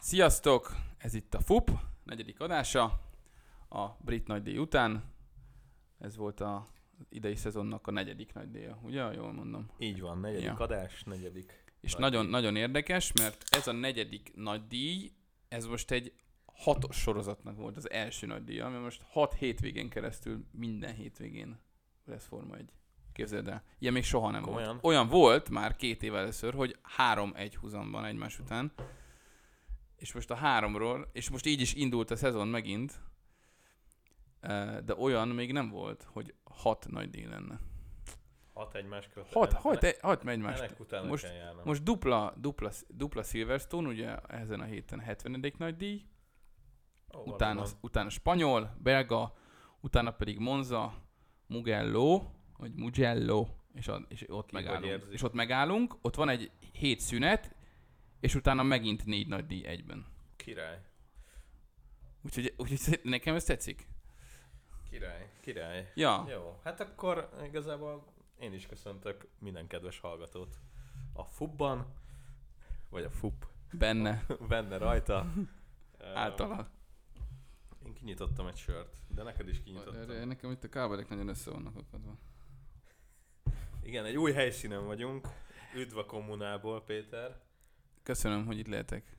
Sziasztok! Ez itt a FUP, negyedik adása a brit nagydíj után. Ez volt a idei szezonnak a negyedik nagydíja, ugye? Jól mondom. Így van, negyedik Ja. adás, negyedik. És Nagydíj. nagyon, nagyon érdekes, mert ez a negyedik nagydíj, ez most egy hatos sorozatnak volt az első nagydíja, ami most hat hétvégén keresztül minden hétvégén lesz Forma egy. Képzeld el. Ilyen még soha nem Komolyan? volt. Olyan volt már két év először, hogy három egy húzamban egymás után. És most a háromról, és most így is indult a szezon megint, Eh, de olyan még nem volt, hogy hat nagy díj lenne. Hat egymás követően. Hat, Ennek- hat, hat egymást. Ennek után most- most, kell járnom. Most dupla, dupla, dupla Silverstone, ugye ezen a héten 70. nagy díj, Ó, utána, valóban. utána spanyol, belga, utána pedig Monza, Mugello, vagy Mugello, és, a, és ott Ki hogy megállunk. érzi. És ott megállunk, ott van egy hét szünet, és utána megint négy nagy díj egyben. Király, Úgyhogy, úgyhogy nekem ez tetszik. király, király. Ja, Jó, hát akkor igazából én is köszöntök minden kedves hallgatót a fubban, vagy a fub benne, benne rajta. általa. Ö, Én kinyitottam egy sört, de neked is kinyitottam. Nekem itt a kábelek nagyon össze vannak akadva. Igen, egy új helyszínen vagyunk. Üdv a kommunából, Péter. Köszönöm, hogy itt lehetek.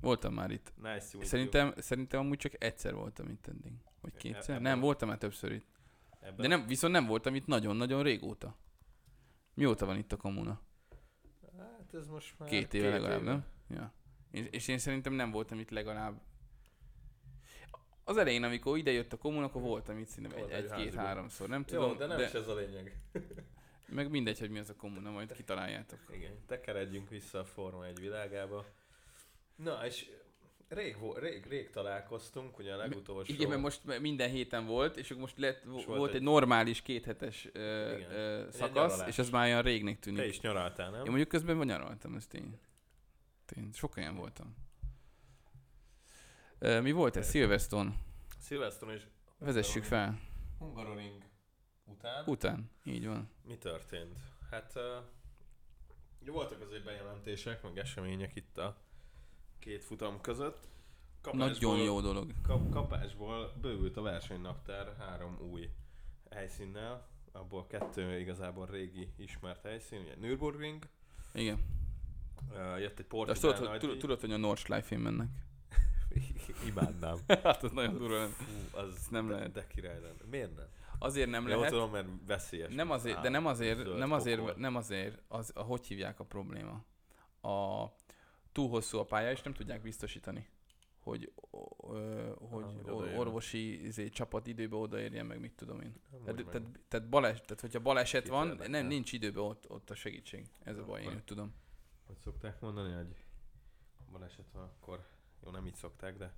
Voltam már itt. Nice to meet Szerintem, szerintem amúgy csak egyszer voltam itt eddig. Vagy kétszer? ebben- nem, voltam már többször itt. you. Ebben De nem, viszont nem voltam itt nagyon-nagyon régóta. Mióta van itt a kommuna? Hát ez most már Két éve legalább, nem? Ja. És, és én szerintem nem voltam itt legalább... Az elején, amikor ide jött a kommun, akkor voltam itt szerintem egy, Volt egy egy két, házigó. háromszor. Nem Tudom, tudom, Jó, de nem de... is ez a lényeg. meg mindegy, hogy mi az a kommuna, majd kitaláljátok. Igen, tekeredjünk vissza a Forma 1 világába. Na, és rég, vo- rég, rég találkoztunk, ugye a legutolsó... Igen, mert most minden héten volt, és akkor most lett, És volt, volt volt egy, egy- normális kéthetes ö, Igen. ö, Egy szakasz, nyaralás. és ez már olyan régnek tűnik. Te is nyaraltál, Én nem? mondjuk közben van nyaraltam, ez tény. Tény, sok helyen voltam. Ö, Mi volt ez? Silverstone. Szilvesztron és Vezessük fel. Hungaroring után. Után. Így van. Mi történt? Hát uh, voltak azért bejelentések, meg események itt a két futam között. Nagyon jó dolog. Kap, kapásból bővült a versenynaptár három új helyszínnel, abból kettő igazából régi ismert helyszín, ugye Nürburgring, Igen. uh, jött egy De azt portugál tudod, hogy, nagy tud- díj. tudod, hogy a Nordschleife mennek. Imádnám. hát az nagyon durva. lenne. Fú, az Nem nem de, lehet. lehet. de király lenne. Miért nem? Azért nem Jól lehet. tudom, mert veszélyes. Nem mint azért, de állat, nem azért, zöld nem azért, pokol. nem azért, az, a, hogy hívják a probléma. A túl hosszú a pálya, és nem tudják biztosítani, hogy, ö, hogy Ah, hogy or- odaérjen. orvosi izé, csapat időbe odaérjen, meg mit tudom én. Amúgy Tehát, meg. tehát, tehát, baleset, tehát hogyha baleset Két van, érdekel. nem, nincs időben ott, ott a segítség. Ez a baj, én Akkor- úgy tudom. Hogy szokták mondani, hogy baleset van, akkor jó, nem így szokták, de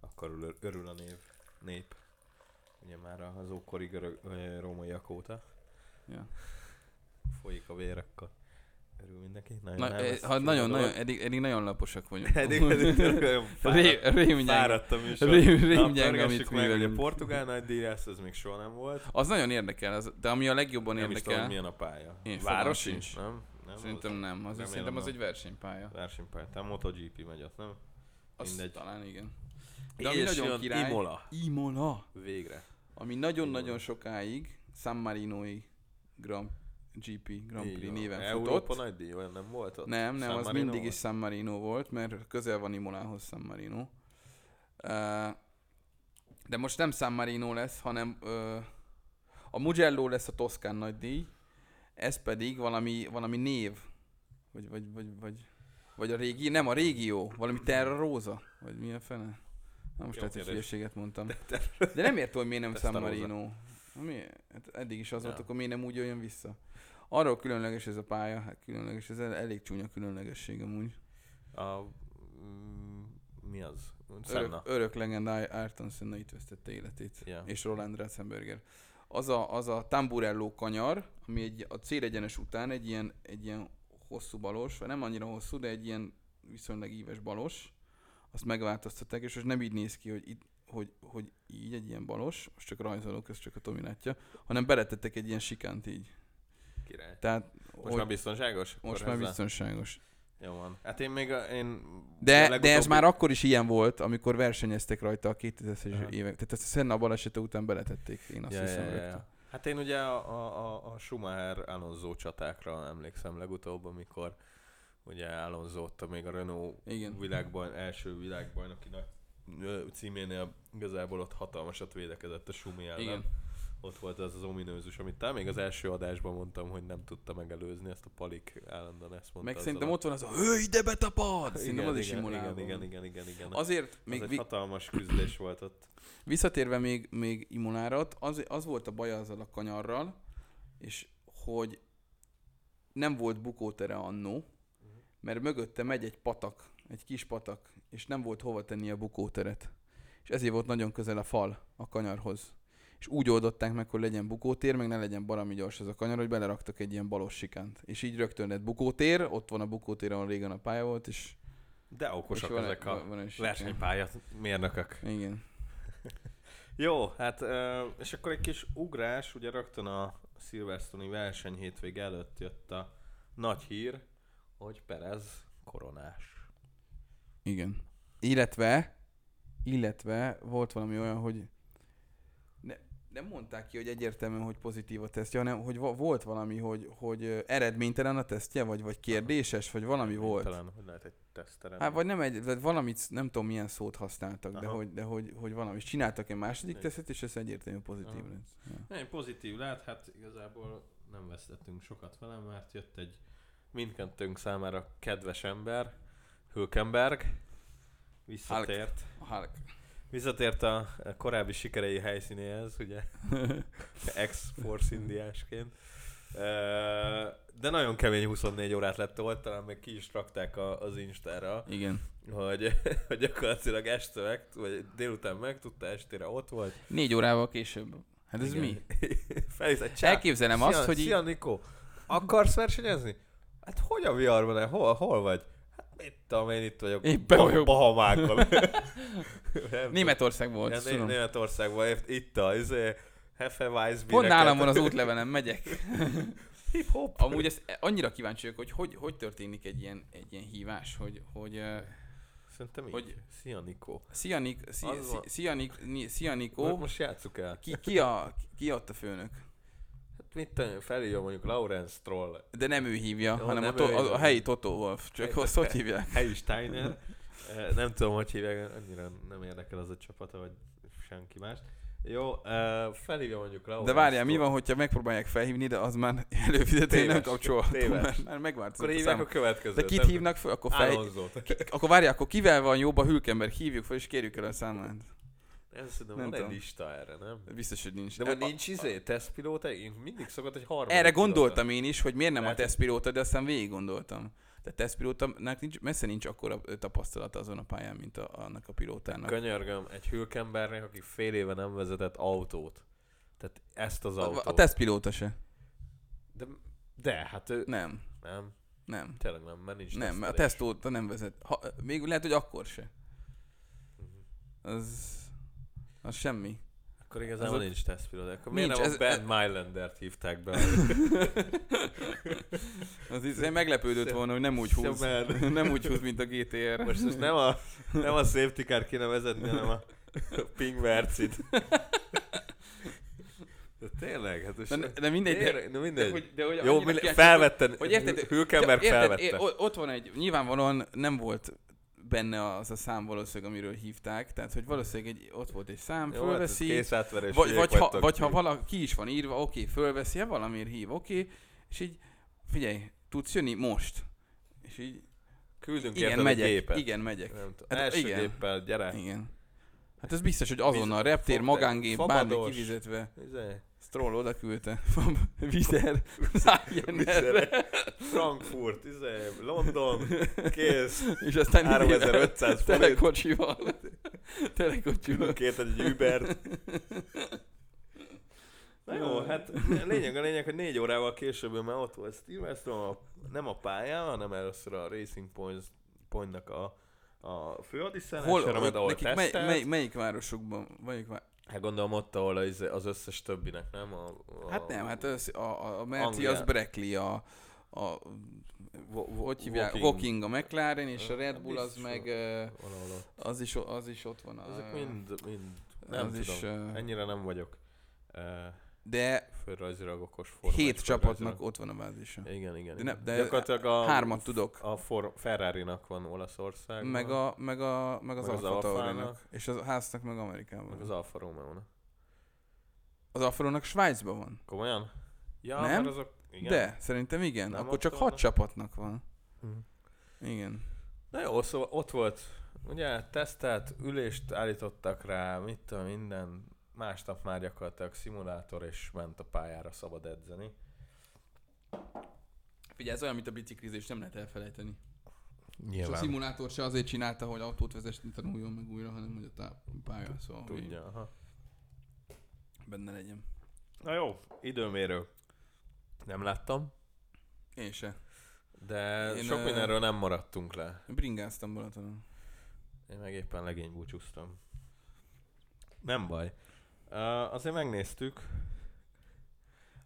akkor örül, örül a név, nép. Ugye már az ókori görög, ö, rómaiak óta Ja. folyik a vér, akkor örül mindenki. Nagyon, Na, eh, ha nagyon, nagyon, eddig, eddig nagyon laposak vagyunk. Eddig, eddig tényleg nagyon Ré- fáradt, rém gyenge. fáradt a műsor. Rém, rém Na, gyenge, amit pörgessük meg, hogy a művelünk. portugál nagy díjász, ez még soha nem volt. Az nagyon érdekel, az, de ami a legjobban Nem is tudom, hogy érdekel, milyen a pálya. Én Város fogalmam is? sincs. Nem? nem szerintem nem, az, Remélem szerintem az nem. egy versenypálya. Versenypálya. Tehát MotoGP megy ott, nem? Az Mindegy. talán igen. De ami és nagyon jön király- Imola. Imola, Végre. ami nagyon-nagyon Imola. sokáig San Marinoi Grand GP, Grand Így Prix van. néven Európa futott. nagy díj, olyan nem volt ott? Nem, nem, San az Marino mindig is volt? San Marino volt, mert közel van Imolához San Marino. Uh, de most nem San Marino lesz, hanem uh, a Mugello lesz a Toszkán nagy díj, ez pedig valami, valami név, vagy, vagy, vagy, vagy, vagy a régi, nem a régió, valami Terra Rosa, vagy mi a fene? Na most Jó lehet, hogy kérdés. hülyeséget mondtam. De nem értem, hogy miért nem San Testa Rosa. Marino. Mi? Hát eddig is az volt, Ja. akkor miért nem úgy jön vissza? Arról különleges ez a pálya, hát különleges, ez el- elég csúnya különlegesség amúgy. A... mm, Mi az? Örök, Senna. örök legendája Ayrton Senna itt vesztette életét. Ja. És Roland Ratzenberger. Az a, az a Tamburello kanyar, ami egy, a célegyenes után egy ilyen, egy ilyen hosszú balos, vagy nem annyira hosszú, de egy ilyen viszonylag íves balos, azt megváltoztatták, és most nem így néz ki, hogy, itt, hogy, hogy így egy ilyen balos, most csak rajzolok, ezt csak a Tomi látja, hanem beletettek egy ilyen sikánt így. Király. Tehát Most már biztonságos? most Akkor már ezzel- biztonságos. Jó van. Hát én még a, én... a De, de ez legutóbbi- már akkor is ilyen volt, amikor versenyeztek rajta a 2000-es Aha. évek. Tehát ezt a Senna balesete után beletették, én azt hiszem. rögtön. Hát én ugye a, a, a, a Schumacher Alonso csatákra emlékszem legutóbb, amikor ugye Alonso ott még a Renault Igen. világban, első világbajnoki nagy ö, címénél igazából ott hatalmasat védekezett a Schumi ellen. Igen. Ott volt az az ominózus, amit talán még az első adásban mondtam, hogy nem tudta megelőzni, ezt a Palik állandóan ezt mondta. Meg az szerintem alatt. ott van az a hőj, de betapad! Szerintem Igen, az is igen, simulában. igen, van. igen, igen, igen, igen. Az, Azért még még az egy vi- hatalmas küzdés volt ott. Visszatérve még, még Imonára, az, az volt a baj azzal a kanyarral, és hogy nem volt bukótere annó, mert mögötte megy egy patak, egy kis patak, és nem volt hova tenni a bukóteret. És ezért volt nagyon közel a fal a kanyarhoz. És úgy oldották meg, hogy legyen bukótér, meg ne legyen barami gyors ez a kanyar, hogy beleraktak egy ilyen balos sikánt. És így rögtön lett bukótér, ott van a bukótér, ahol régen a pálya volt, és, De és okosak ezek a van egy sikán. versenypálya mérnökök. Igen. Jó, hát ö, és akkor egy kis ugrás, ugye rögtön a Silverstone-i verseny hétvég előtt jött a nagy hír, hogy Perez koronás. Igen. Illetve, illetve volt valami olyan, hogy ne, nem mondták ki, hogy egyértelműen, hogy pozitív a tesztje, hanem hogy va- volt valami, hogy, hogy ö, eredménytelen a tesztje, vagy, vagy kérdéses, vagy valami volt. Talán, hogy lehet egy teszterem. Hát, vagy nem egy, vagy valamit, nem tudom milyen szót használtak, de Aha. hogy, de hogy, hogy valami. És csináltak egy második Igen. tesztet, és ez egyértelműen pozitív Aha. lett. Ja. Nem, pozitív lehet, hát igazából nem vesztettünk sokat velem, mert jött egy mindkettőnk számára kedves ember, Hülkenberg, visszatért. Hulk. Visszatért a korábbi sikerei helyszínéhez, ugye? Ex-Force indiásként. Ö, De nagyon kemény 24 órát lett ott, talán még ki is rakták a, az Instára, Igen. hogy, hogy gyakorlatilag este meg, vagy délután megtudta, estére ott volt. Négy órával később. Hát ez Igen. mi? Felhívta, hogy csá, Elképzelem azt, hogy így Szia, Nikó, akarsz versenyezni? Hát hogy a viharban? el? Hol, hol vagy? Hát mit tudom, én itt vagyok. Éppen Bah- vagyok. Bahamákon. Nem Németország tudom. volt, Ja, azt Né- tudom. Németországban, épp- itt a izé, Hefeweiss Pont nálam van az útlevelem, megyek. Hip-hop. Amúgy ezt annyira kíváncsi vagyok, hogy hogy, hogy történik egy ilyen, egy ilyen hívás, hogy, hogy uh, Szerintem így. Hogy- Szia, Nikó. szia, Nik, szia, Az van. szia, Nik, Ni- szia Ó. Nikó, Most játsszuk el. ki, ki, a, ki ott a főnök? Hát mit tudom, felhívja mondjuk Lawrence Troll, De nem ő hívja, Jó, hanem nem a, to- ő a, a hívja. helyi Toto Wolf, csak Helyi azt Toto. hogy hívják? Helyi Steiner. Eh, Nem tudom, hogy hívják, annyira nem érdekel az a csapata, vagy senki más. Jó, eh, felhívja mondjuk Lawrence De várjál, mi Stroll. van, hogyha megpróbálják felhívni, de az már előfizető nem Téves. kapcsolható, Téves. mert már megváltozott Akkor a hívják a szám. következőt. De kit hívnak föl? Akkor, fel, Alonzót. ki, akkor várjál, akkor kivel van jobb a Hülkenberg? Hívjuk fel, és kérjük el a számát. Nem szerintem Nem van egy tudom. lista erre, nem? Biztos, hogy nincs. De vagy A- a- nincs izé, tesztpilóta? Én mindig szokott egy harmadik Erre pilóta. gondoltam én is, hogy miért nem Lehet, a hogy- tesztpilóta, de aztán végig gondoltam. De tesztpilótának nincs, messze nincs akkora ö, tapasztalata azon a pályán, mint a, annak a pilótának. Könyörgöm, egy hülkembernek, aki fél éve nem vezetett autót. Tehát ezt az A, autót. a tesztpilóta se. De, de hát ő... Nem, Nem, nem. tényleg nem, mert nincs Nem, a tesztelés. tesztóta nem vezet. Ha, még lehet, hogy akkor se. Mhm. Az, az semmi. Akkor igazából az a- nincs tesztpilóta. Akkor miért Nincs, nem a ez- Ben ez- Mylandert hívták be? Az így, én meglepődött Szem- volna, hogy nem úgy húz. Szemer. Nem úgy húz, mint a GTR. Most most nem a, nem a safety car kéne vezetni, hanem a Ping Mercit. De tényleg, hát most... de, de mindegy. De, Tényleg, de mindegy. de, hogy, de, hogy Jó, annyira mindegy, kíváncsi vagyok, felvetted, hogy érted- Hülkenberg Ja, felvette. é- o- ott van egy, nyilvánvalóan nem volt benne az a szám valószínűleg, amiről hívták, tehát hogy valószínűleg egy, ott volt egy szám, Jó, hát ez fölveszi, kész átverés, vagy, hülyék vagy, ha, vagytok. vagy ha valaki is van írva, oké, fölveszi, ha valamiért hív, oké, és így, figyelj, tudsz jönni most? És így, Küldünk igen, érted megyek, egy gépet. igen, megyek. Nem tudom, Hát, első igen. géppel, gyere. Igen. Hát ez biztos, hogy azonnal Víz- reptér, fogták. magángép, bármi Fabados. kivizetve. Izé, Stroll oda küldte. Vizer, szálljon erre. Frankfurt, izé, London, kész. És aztán 3500 forint. Telekocsival. Telekocsival. Kért egy Ubert. Na jó, hát lényeg a lényeg, hogy négy órával később ő már ott volt Steve Westrom, a, nem a pályán, hanem először a Racing Points, Pointnak a, a főadiszállására, mert ahol nekik mely, tesztelt. mely, melyik városokban? Melyik vá... Hát gondolom ott, ahol az, az összes többinek, nem? A, a, Hát nem, hát az, a, a, a Merci Angliá- az Breckley, a, a vo- hogy hívják? Woking. Woking hát a McLaren, és a Red Bull az Biztos meg, van. ö, Valahol ott. az is, o- az is ott van. a- Ezek mind, mind, nem az tudom. is, ö, Ennyire nem vagyok uh, De földrajzilag okos forma. hét és csapatnak földrajzilag- ott van a bázisa. Igen, igen. De nem- de igen. Gyakorlatilag a, Hármat tudok. a For- Ferrari-nak van Olaszországban. Meg, a, meg, a, meg az, Meg az Alfa Taurinak. Alfának. És az háznak meg Meg Amerikában. az Az, Alfa romeo az Alfa Romeo-nak Svájcban van. Komolyan? Ja, Nem, mert azok... Igen. Igen. De, szerintem igen. Nem Nem Akkor ott csak vannak? hat csapatnak van. Mhm. Igen. Na jó, szóval ott volt, ugye tesztelt, ülést állítottak rá, mit tudom, minden. Másnap már gyakorlatilag szimulátor, és ment a pályára szabad edzeni. Figyelj, ez olyan, mint a biciklizés, nem lehet elfelejteni. És a Nyilván. szimulátor se azért csinálta, hogy autót vezetni tanuljon meg újra, hanem hogy a táppálya, szóval hogy Tudja, aha. benne legyen. Na jó, időmérő. Nem láttam, Én se. de Én, Én sok ö, mindenről nem maradtunk le. Én Bringáztam Balatonon. Én meg éppen legénybúcsúztam. Nem baj. Uh, azért megnéztük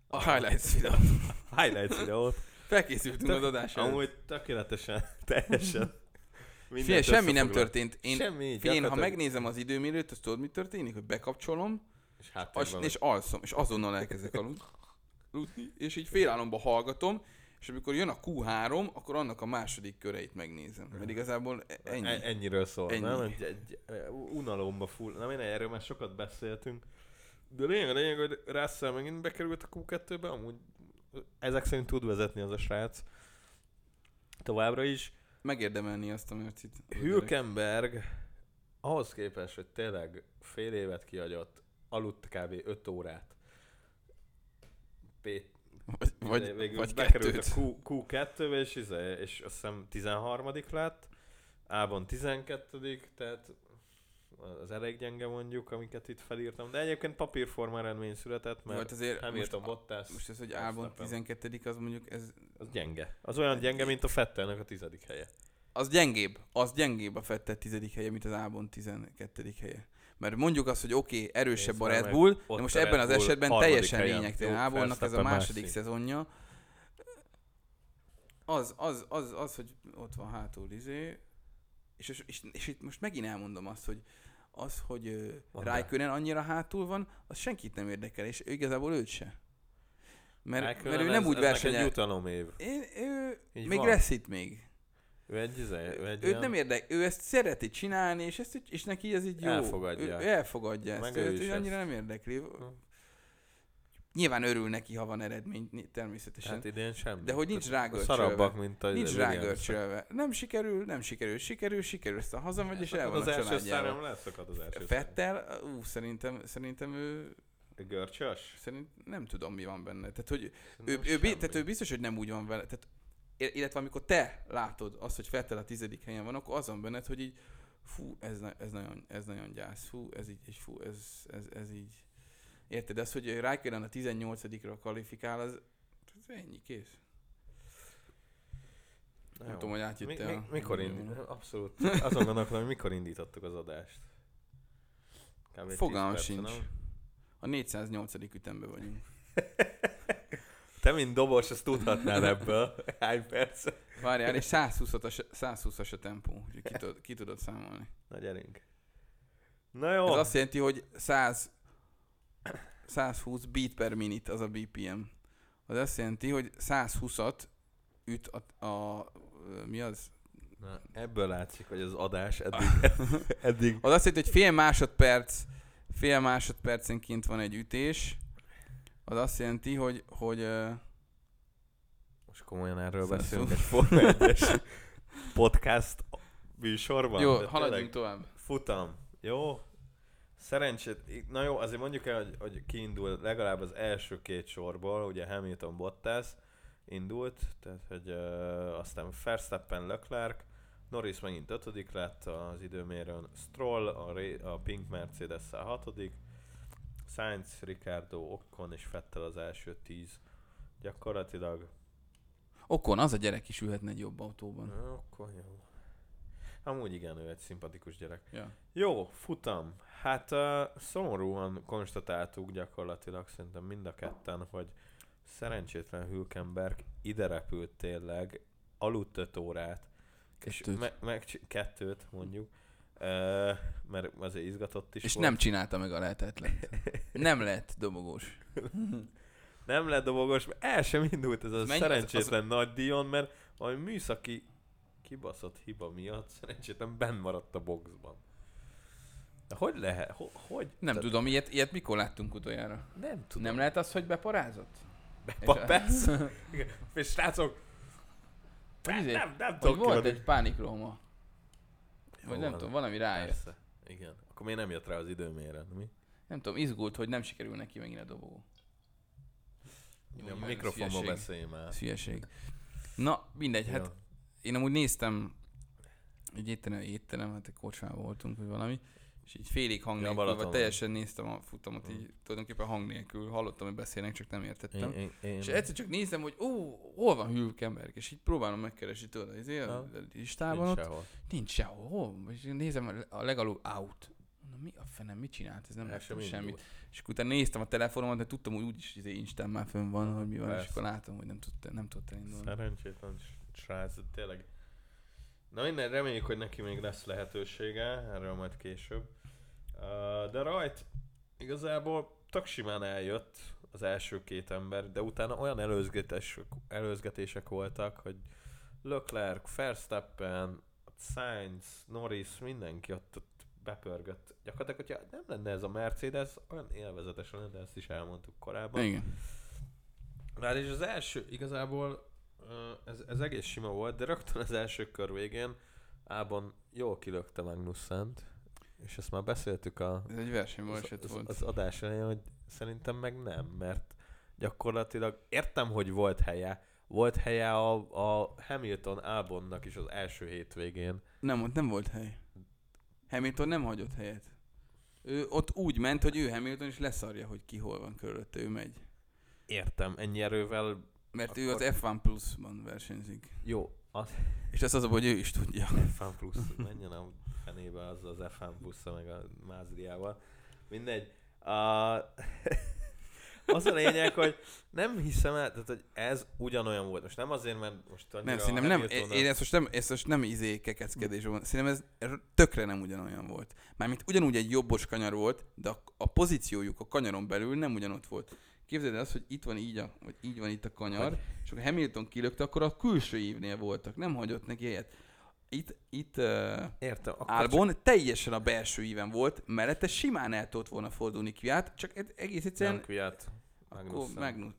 A highlights videót. a highlights videót. Felkészültünk Tök- az adásra. Amúgy Amúgy tökéletesen, teljesen. Figyelj, mindent semmi nem összefoglalt. történt. Én, semmi, figyelj, én, ha gyakorlatilag- megnézem az időmérőt, azt tudod, mi történik? Hogy bekapcsolom, És hát az, és alszom, és azonnal elkezdek aludni, aludni, és így félálomba hallgatom, és amikor jön a Q3, akkor annak a második köreit megnézem. Mert igazából e- ennyi. ennyi. ennyiről szól, Ennyi. Ennyi. nem? Egy, egy, egy unalomba full. Nem, én erről már sokat beszéltünk. De lényeg, a lényeg, hogy Russell megint bekerült a Q2-be, amúgy ezek szerint tud vezetni az a srác. Továbbra is. Megérdemelni azt a mercit. az a gyerek. Hülkenberg ahhoz képest, hogy tényleg fél évet kiadott, aludt kb. 5 órát. P- Vagy, Izé, vagy, végül vagy bekerült kettőt. a Q, Q2-be, és, izé, és azt hiszem 13 lett, A-ban 12 tehát az elég gyenge mondjuk, amiket itt felírtam, de egyébként papírforma eredmény született, Jó, hát mert azért most, Hamilton Bottas, most ez, hogy Verstappen. Albon 12 az mondjuk, ez, az gyenge. Az olyan gyenge, mint a Fettelnek a tizedik helye. az gyengébb, az gyengébb a Fettel 10. helye, mint az Albon 12. helye. Mert mondjuk azt, hogy oké, okay, erősebb Nézd a már Red meg, Bull, ott de most a Red ebben az Bull esetben harmadik teljesen helyen. lényegtelen. Jó, Ábolnak ez a Verstappen második másik. szezonja. Az, az, az, az, hogy ott van hátul izé, és, és, és, és itt most megint elmondom azt, hogy az, hogy uh, Mondd el. Rijkönen annyira hátul van, az senkit nem érdekel, és ő igazából őt se. Mert, Elkülön mert ő nem ez, úgy ez neki versenyel. Egy jutalom év. Én, ő Így még van. reszít még. Ő egy, izé, ő egy Őt nem érdek, ő ezt szereti csinálni, és, ezt, így- és neki ez így jó. Elfogadja. Ő, ő elfogadja ezt, Meg ő ő őt is ő annyira ezt. Hm. nem érdekli. Nyilván örül neki, ha van eredmény, ny- természetesen. Hát idén semmi. De hogy nincs rágörcsölve. Szarabbak, mint a Nincs Williams. rágörcsölve. Nem sikerül, nem sikerül, sikerül, sikerül, aztán hazamegy, és el van Hát az a első családjával. szárnyom leszakad az első Fettel, ú, szerintem, szerintem ő, szárnyom. Görcsös? szerint nem tudom, mi van benne. Tehát, hogy ő, Szerintem ő, bi- semmi. tehát ő biztos, hogy nem úgy van vele. Tehát, i- illetve amikor te látod azt, hogy Fettel a tizedik helyen van, akkor azon benned, hogy így fú, ez, na- ez, nagyon, ez nagyon gyász, fú, ez így, és fú, ez, ez, ez így. Érted? Ez, hogy Rijkelen a 18-ra kvalifikál, az az ennyi, kész. Na nem jó. tudom, hogy átjött mi, el mi, a- mikor a- indi... Abszolút. Azon gondolkodom, hogy mikor indítottuk az adást. Kb. 10 Fogalmam perce, sincs. nem? A 408. ütemben vagyunk. Te, mint dobos, ezt tudhatnál ebből. Hány perc? Várjál, és 120-as, 120-as a tempó, úgyhogy ki, tud, ki tudod számolni. Na gyerünk. Na jó. Ez azt jelenti, hogy 100, 120 beat per minute az a BPM. Az azt jelenti, hogy 120-at üt a, a mi az? Na, ebből látszik, hogy az adás eddig... eddig... Az azt jelenti, hogy fél másodperc, fél másodpercenként van egy ütés. Az azt jelenti, hogy, hogy ö, Most komolyan erről Szóval- beszélünk egy Forma 1 podcast műsorban. jó, de tényleg- haladjunk tovább. Futam, jó? Szerencsét, na jó, azért mondjuk el, hogy, hogy kiindul legalább az első két sorból, ugye Hamilton Bottas indult, tehát hogy uh, aztán Verstappen, Leclerc, Norris megint ötödik lett az időmérőn, Stroll, a, ré, a Pink mercedes a hatodik, Sainz, Ricardo, Okkon és Fettel az első tíz. Gyakorlatilag Okon, az a gyerek is ülhetne egy jobb autóban. Na, akkor jó. Amúgy igen, ő egy szimpatikus gyerek. Ja. Jó, futam. Hát uh, szomorúan konstatáltuk gyakorlatilag szerintem mind a ketten, hogy szerencsétlen Hülkenberg ide repült tényleg aludt 5 órát, és Kettőt. me- meg kettőt mondjuk, ö, mert azért izgatott is És volt. nem csinálta meg a lehetetlen. Nem lett domogós. Nem lett dobogos, mert el sem indult ez a Mennyi- szerencsétlen nagy Dion, mert a műszaki kibaszott hiba miatt szerencsétlen benn maradt a boxban. De hogy lehet? Ho- hogy? Nem tudom, ilyet, ilyet mikor láttunk utoljára? Nem tudom. Tudom. Nem lehet az, hogy beparázott? Be- persze. Igen. És srácok, Hogy nem, izé- nem, nem Hogy tudok volt kiadni. egy pánikroma. Jó, Vagy nem van. tudom, valami rájött. Persze. Igen. Akkor miért nem jött rá az időmérő? Mi? Nem tudom, izgult, hogy nem sikerül neki megint a dobogó. Jó, a már ez mikrofonba hülyeség. beszélj már. Ez hülyeség. Na, mindegy, hát Ja. én amúgy néztem egy étterem, étterem, hát egy kocsmában voltunk, vagy valami, és így félig hang Ja, nélkül, Balaton. vagy teljesen néztem a futamot, Mm. így tulajdonképpen hang nélkül, hallottam, hogy beszélnek, csak nem értettem. Én, én, én, És egyszer csak nézem, hogy ó, hol van Hülkenberg, és így próbálom megkeresni tőle, izé, a, Ha. a nincs listában ott, sehol. nincs sehol, hol, és én nézem a le- a legalul out. Mondom, mi a fenem, mit csinált, ez nem El láttam sem semmit. indult. És akkor utána néztem a telefonomat, de tudtam, hogy úgyis izé Instán már fönn van, hogy mi van, és Persze. akkor látom, hogy nem tudta, nem tudta indulni. Szerencsétlen srác, de tényleg. Na minden, reméljük, hogy neki még lesz lehetősége, erről majd később. Ö, De rajt igazából tök simán eljött az első két ember, de utána olyan előzgetések, előzgetések voltak, hogy Leclerc, Verstappen, Sainz, Norris, mindenki ott, ott bepörgött. Gyakorlatilag, hogyha nem lenne ez a Mercedes, olyan élvezetes lenne, de ezt is elmondtuk korábban. Igen. Már is az első, igazából ö, ez, ez egész sima volt, de rögtön az első kör végén Ában jól kilökte Magnussent, és ezt már beszéltük a, Ez egy az, versenybaleset az, volt. az adás elején, hogy szerintem meg nem, mert gyakorlatilag értem, hogy volt helye, volt helye a, a Hamilton Ábonnak is az első hétvégén. Nem, ott nem volt hely. Hamilton nem hagyott helyet. Ő ott úgy ment, hogy ő Hamilton is leszarja, hogy ki hol van körülötte, ő megy. Értem, ennyi erővel Mert ő az F1 Akkor- Plus-ban versenyzik. jó, az És ez az a baj, hogy ő is tudja. F1 Plus, menjen a fenébe az az F1 busza meg a mázliával. Mindegy. A... az a lényeg, hogy nem hiszem el, tehát hogy ez ugyanolyan volt. Most nem azért, mert most annyira Nem, szerintem nem, Hamiltonnal- én ezt most nem, ezt most nem izé kekeckedés volt. Szerintem ez r- tökre nem ugyanolyan volt. Mármint ugyanúgy egy jobbos kanyar volt, de a, a pozíciójuk a kanyaron belül nem ugyanott volt. Képzeld el azt, hogy itt van így, a, vagy így van itt a kanyar, és akkor Hamilton kilökte, akkor a külső évnél voltak, nem hagyott neki helyet. Itt, itt uh, Értem, akkor Albon teljesen a belső íven volt, mellette simán el tudott volna fordulni kiát, csak ed- egész csak nem egyszerűen Kviat, akkor Magnussen. Magnus.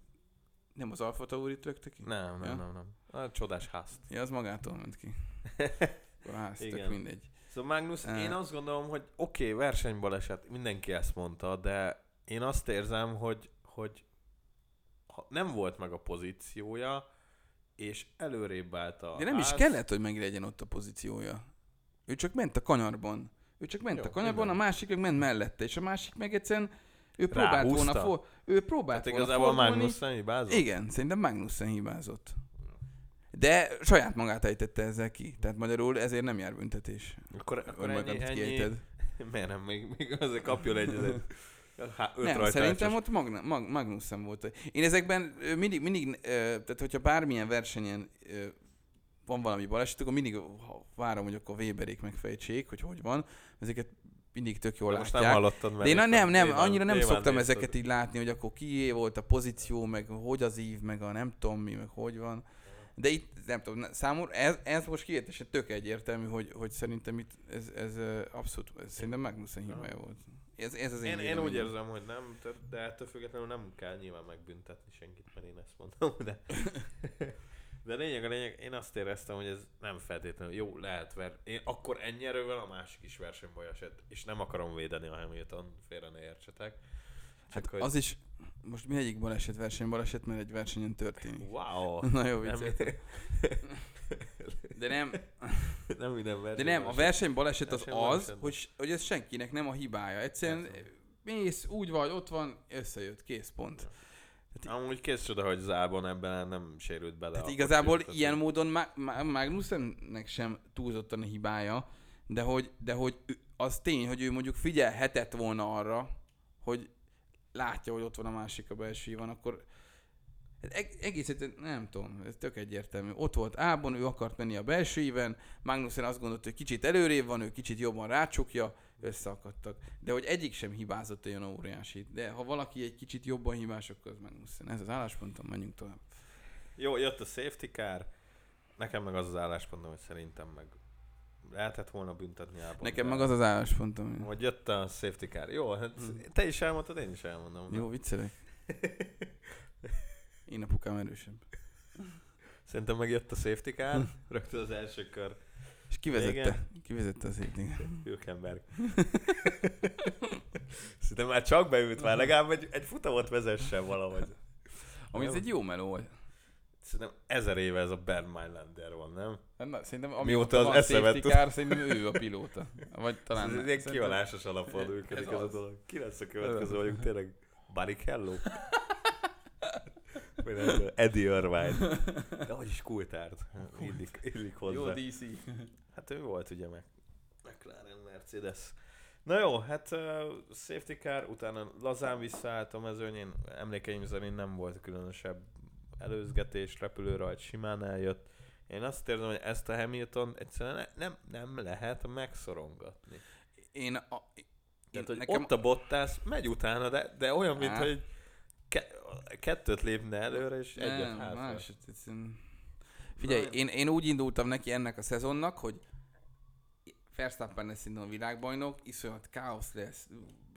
Nem az Alfa Taurit rögte ki? Nem, nem, Ja. nem, nem. A csodás ház. Ja, az magától ment ki. Akkor hát, tök Igen. mindegy. Szóval Magnus, Eh. én azt gondolom, hogy oké, okay, versenybaleset, mindenki ezt mondta, de én azt érzem, hogy, hogy ha- nem volt meg a pozíciója, és előrébb állt a De nem is ház. kellett, hogy meglegyen ott a pozíciója. Ő csak ment a kanyarban. Ő csak ment Jó, a kanyarban, igen. a másik meg ment mellette, és a másik meg egyszerűen ő Ráhúzta. próbált volna, for, ő próbált Hát volna igazából fordulni. Magnussen hibázott? Igen, szerintem Magnussen hibázott. De saját magát ejtette ezzel ki. Tehát magyarul ezért nem jár büntetés. Akkor, Hogy akkor ennyi, magad ennyi... kiejted. Miért nem? Még, még azért kapjon egy... Há, öt Nem, rajta szerintem egyszer. ott Magna, Mag, Magnussen volt. Én ezekben ö, mindig, mindig ö, tehát hogyha bármilyen versenyen ö, van valami baleset, akkor mindig ha- várom, hogy akkor Weberék megfejtsék, hogy hogy van. Ezeket mindig tök jól Most nem látják. hallottad De én nem, nem, nyilván- annyira nem nyilván szoktam nézted. ezeket így látni, hogy akkor kié volt a pozíció, meg hogy az ív, meg a nem tudom mi, meg hogy van. De itt, nem tudom, na- számomra ez, ez most kiértesen tök egyértelmű, hogy, hogy szerintem itt ez, ez ö, abszolút, ez szerintem Magnussen hibája volt. Ez, ez az én, Én, én úgy véleményem. érzem, hogy nem, tör- de ettől függetlenül nem kell nyilván megbüntetni senkit, mert én ezt mondom, de... De lényeg a lényeg, én azt éreztem, hogy ez nem feltétlenül jó, lehet ver. Én akkor ennyi erővel a másik is versenybaj esett, és nem akarom védeni a Hamilton, félre ne értsetek. Hát hogy- az is, most mi egyik baleset verseny baleset, mert egy versenyen történik. Wow! Na jó, Nem, vicc. De nem, nem minden de verseny. nem, a verseny baleset az Verseny az, baleset. hogy, s- hogy ez senkinek nem a hibája. Egyszerűen Persze. mész, úgy vagy, ott van, összejött, kész, pont. Hát, Amúgy kész csoda, hogy Zában ebben nem sérült bele. Tehát a Hát igazából kocsi, tehát ilyen így- módon Ma- Ma- Magnussennek sem túlzottan a hibája, de hogy, de hogy ő- az tény, hogy ő mondjuk figyelhetett volna arra, hogy látja, hogy ott van a másik a belső van, akkor Hát eg- egész egyszerűen nem tudom, ez tök egyértelmű. Ott volt Ábon, ő akart menni a belső íven, Magnussen azt gondolta, hogy kicsit előrébb van, ő kicsit jobban rácsukja, összeakadtak. De hogy egyik sem hibázott olyan óriási. De ha valaki egy kicsit jobban hibás, akkor az Magnussen. Ez az álláspontom, menjünk tovább. Jó, jött a safety car. Nekem meg az az álláspontom, hogy szerintem meg lehetett volna büntetni Ábont. Nekem meg az az álláspontom. hogy- Hogy jött a safety car. Jó, hát te is elmondtad, én is elmondom. Jó, viccelek. Én apukám erősebb. Szerintem megjött a safety car, Hm. rögtön az első kör. És kivezette. Kivezette az évnél. Hülkenberg. Szerintem már csak beült, már legalább egy, egy futamot vezessen valahogy. Ami ez egy jó meló volt. Szerintem ezer éve ez a Bernd Mailander van, nem? Hát Na, szerintem Mióta amióta az van eszemet safety tud- car, szerintem ő a pilóta. Vagy talán... Talán ez nem. egy ilyen Szerintem- kialásos alapon működik ez ez, a az. dolog. Ki lesz a következő, vagyunk tényleg Barrichello? Vagy nem tudom, Eddie Irvine. De hogy is kultárt. Illik, illik Jó hozzá. DC. Hát ő volt ugye meg. McLaren Mercedes. Na jó, hát uh, safety car, utána lazán visszaállt a mezőnyén, emlékeim szerint nem volt különösebb előzgetés, repülőrajt simán eljött. Én azt érzem, hogy ezt a Hamilton egyszerűen ne- nem, nem lehet megszorongatni. Én a... Tehát, nekem- Hát. hogy nekem... ott a Bottas megy utána, de, de olyan, mint Á. hogy ke- kettőt lépne előre, és egyet Nem, hátra. más, hát egyszerűen- Figyelj, Na, én, én úgy indultam neki ennek a szezonnak, hogy Verstappen lesz innen a világbajnok, iszonyat káosz lesz.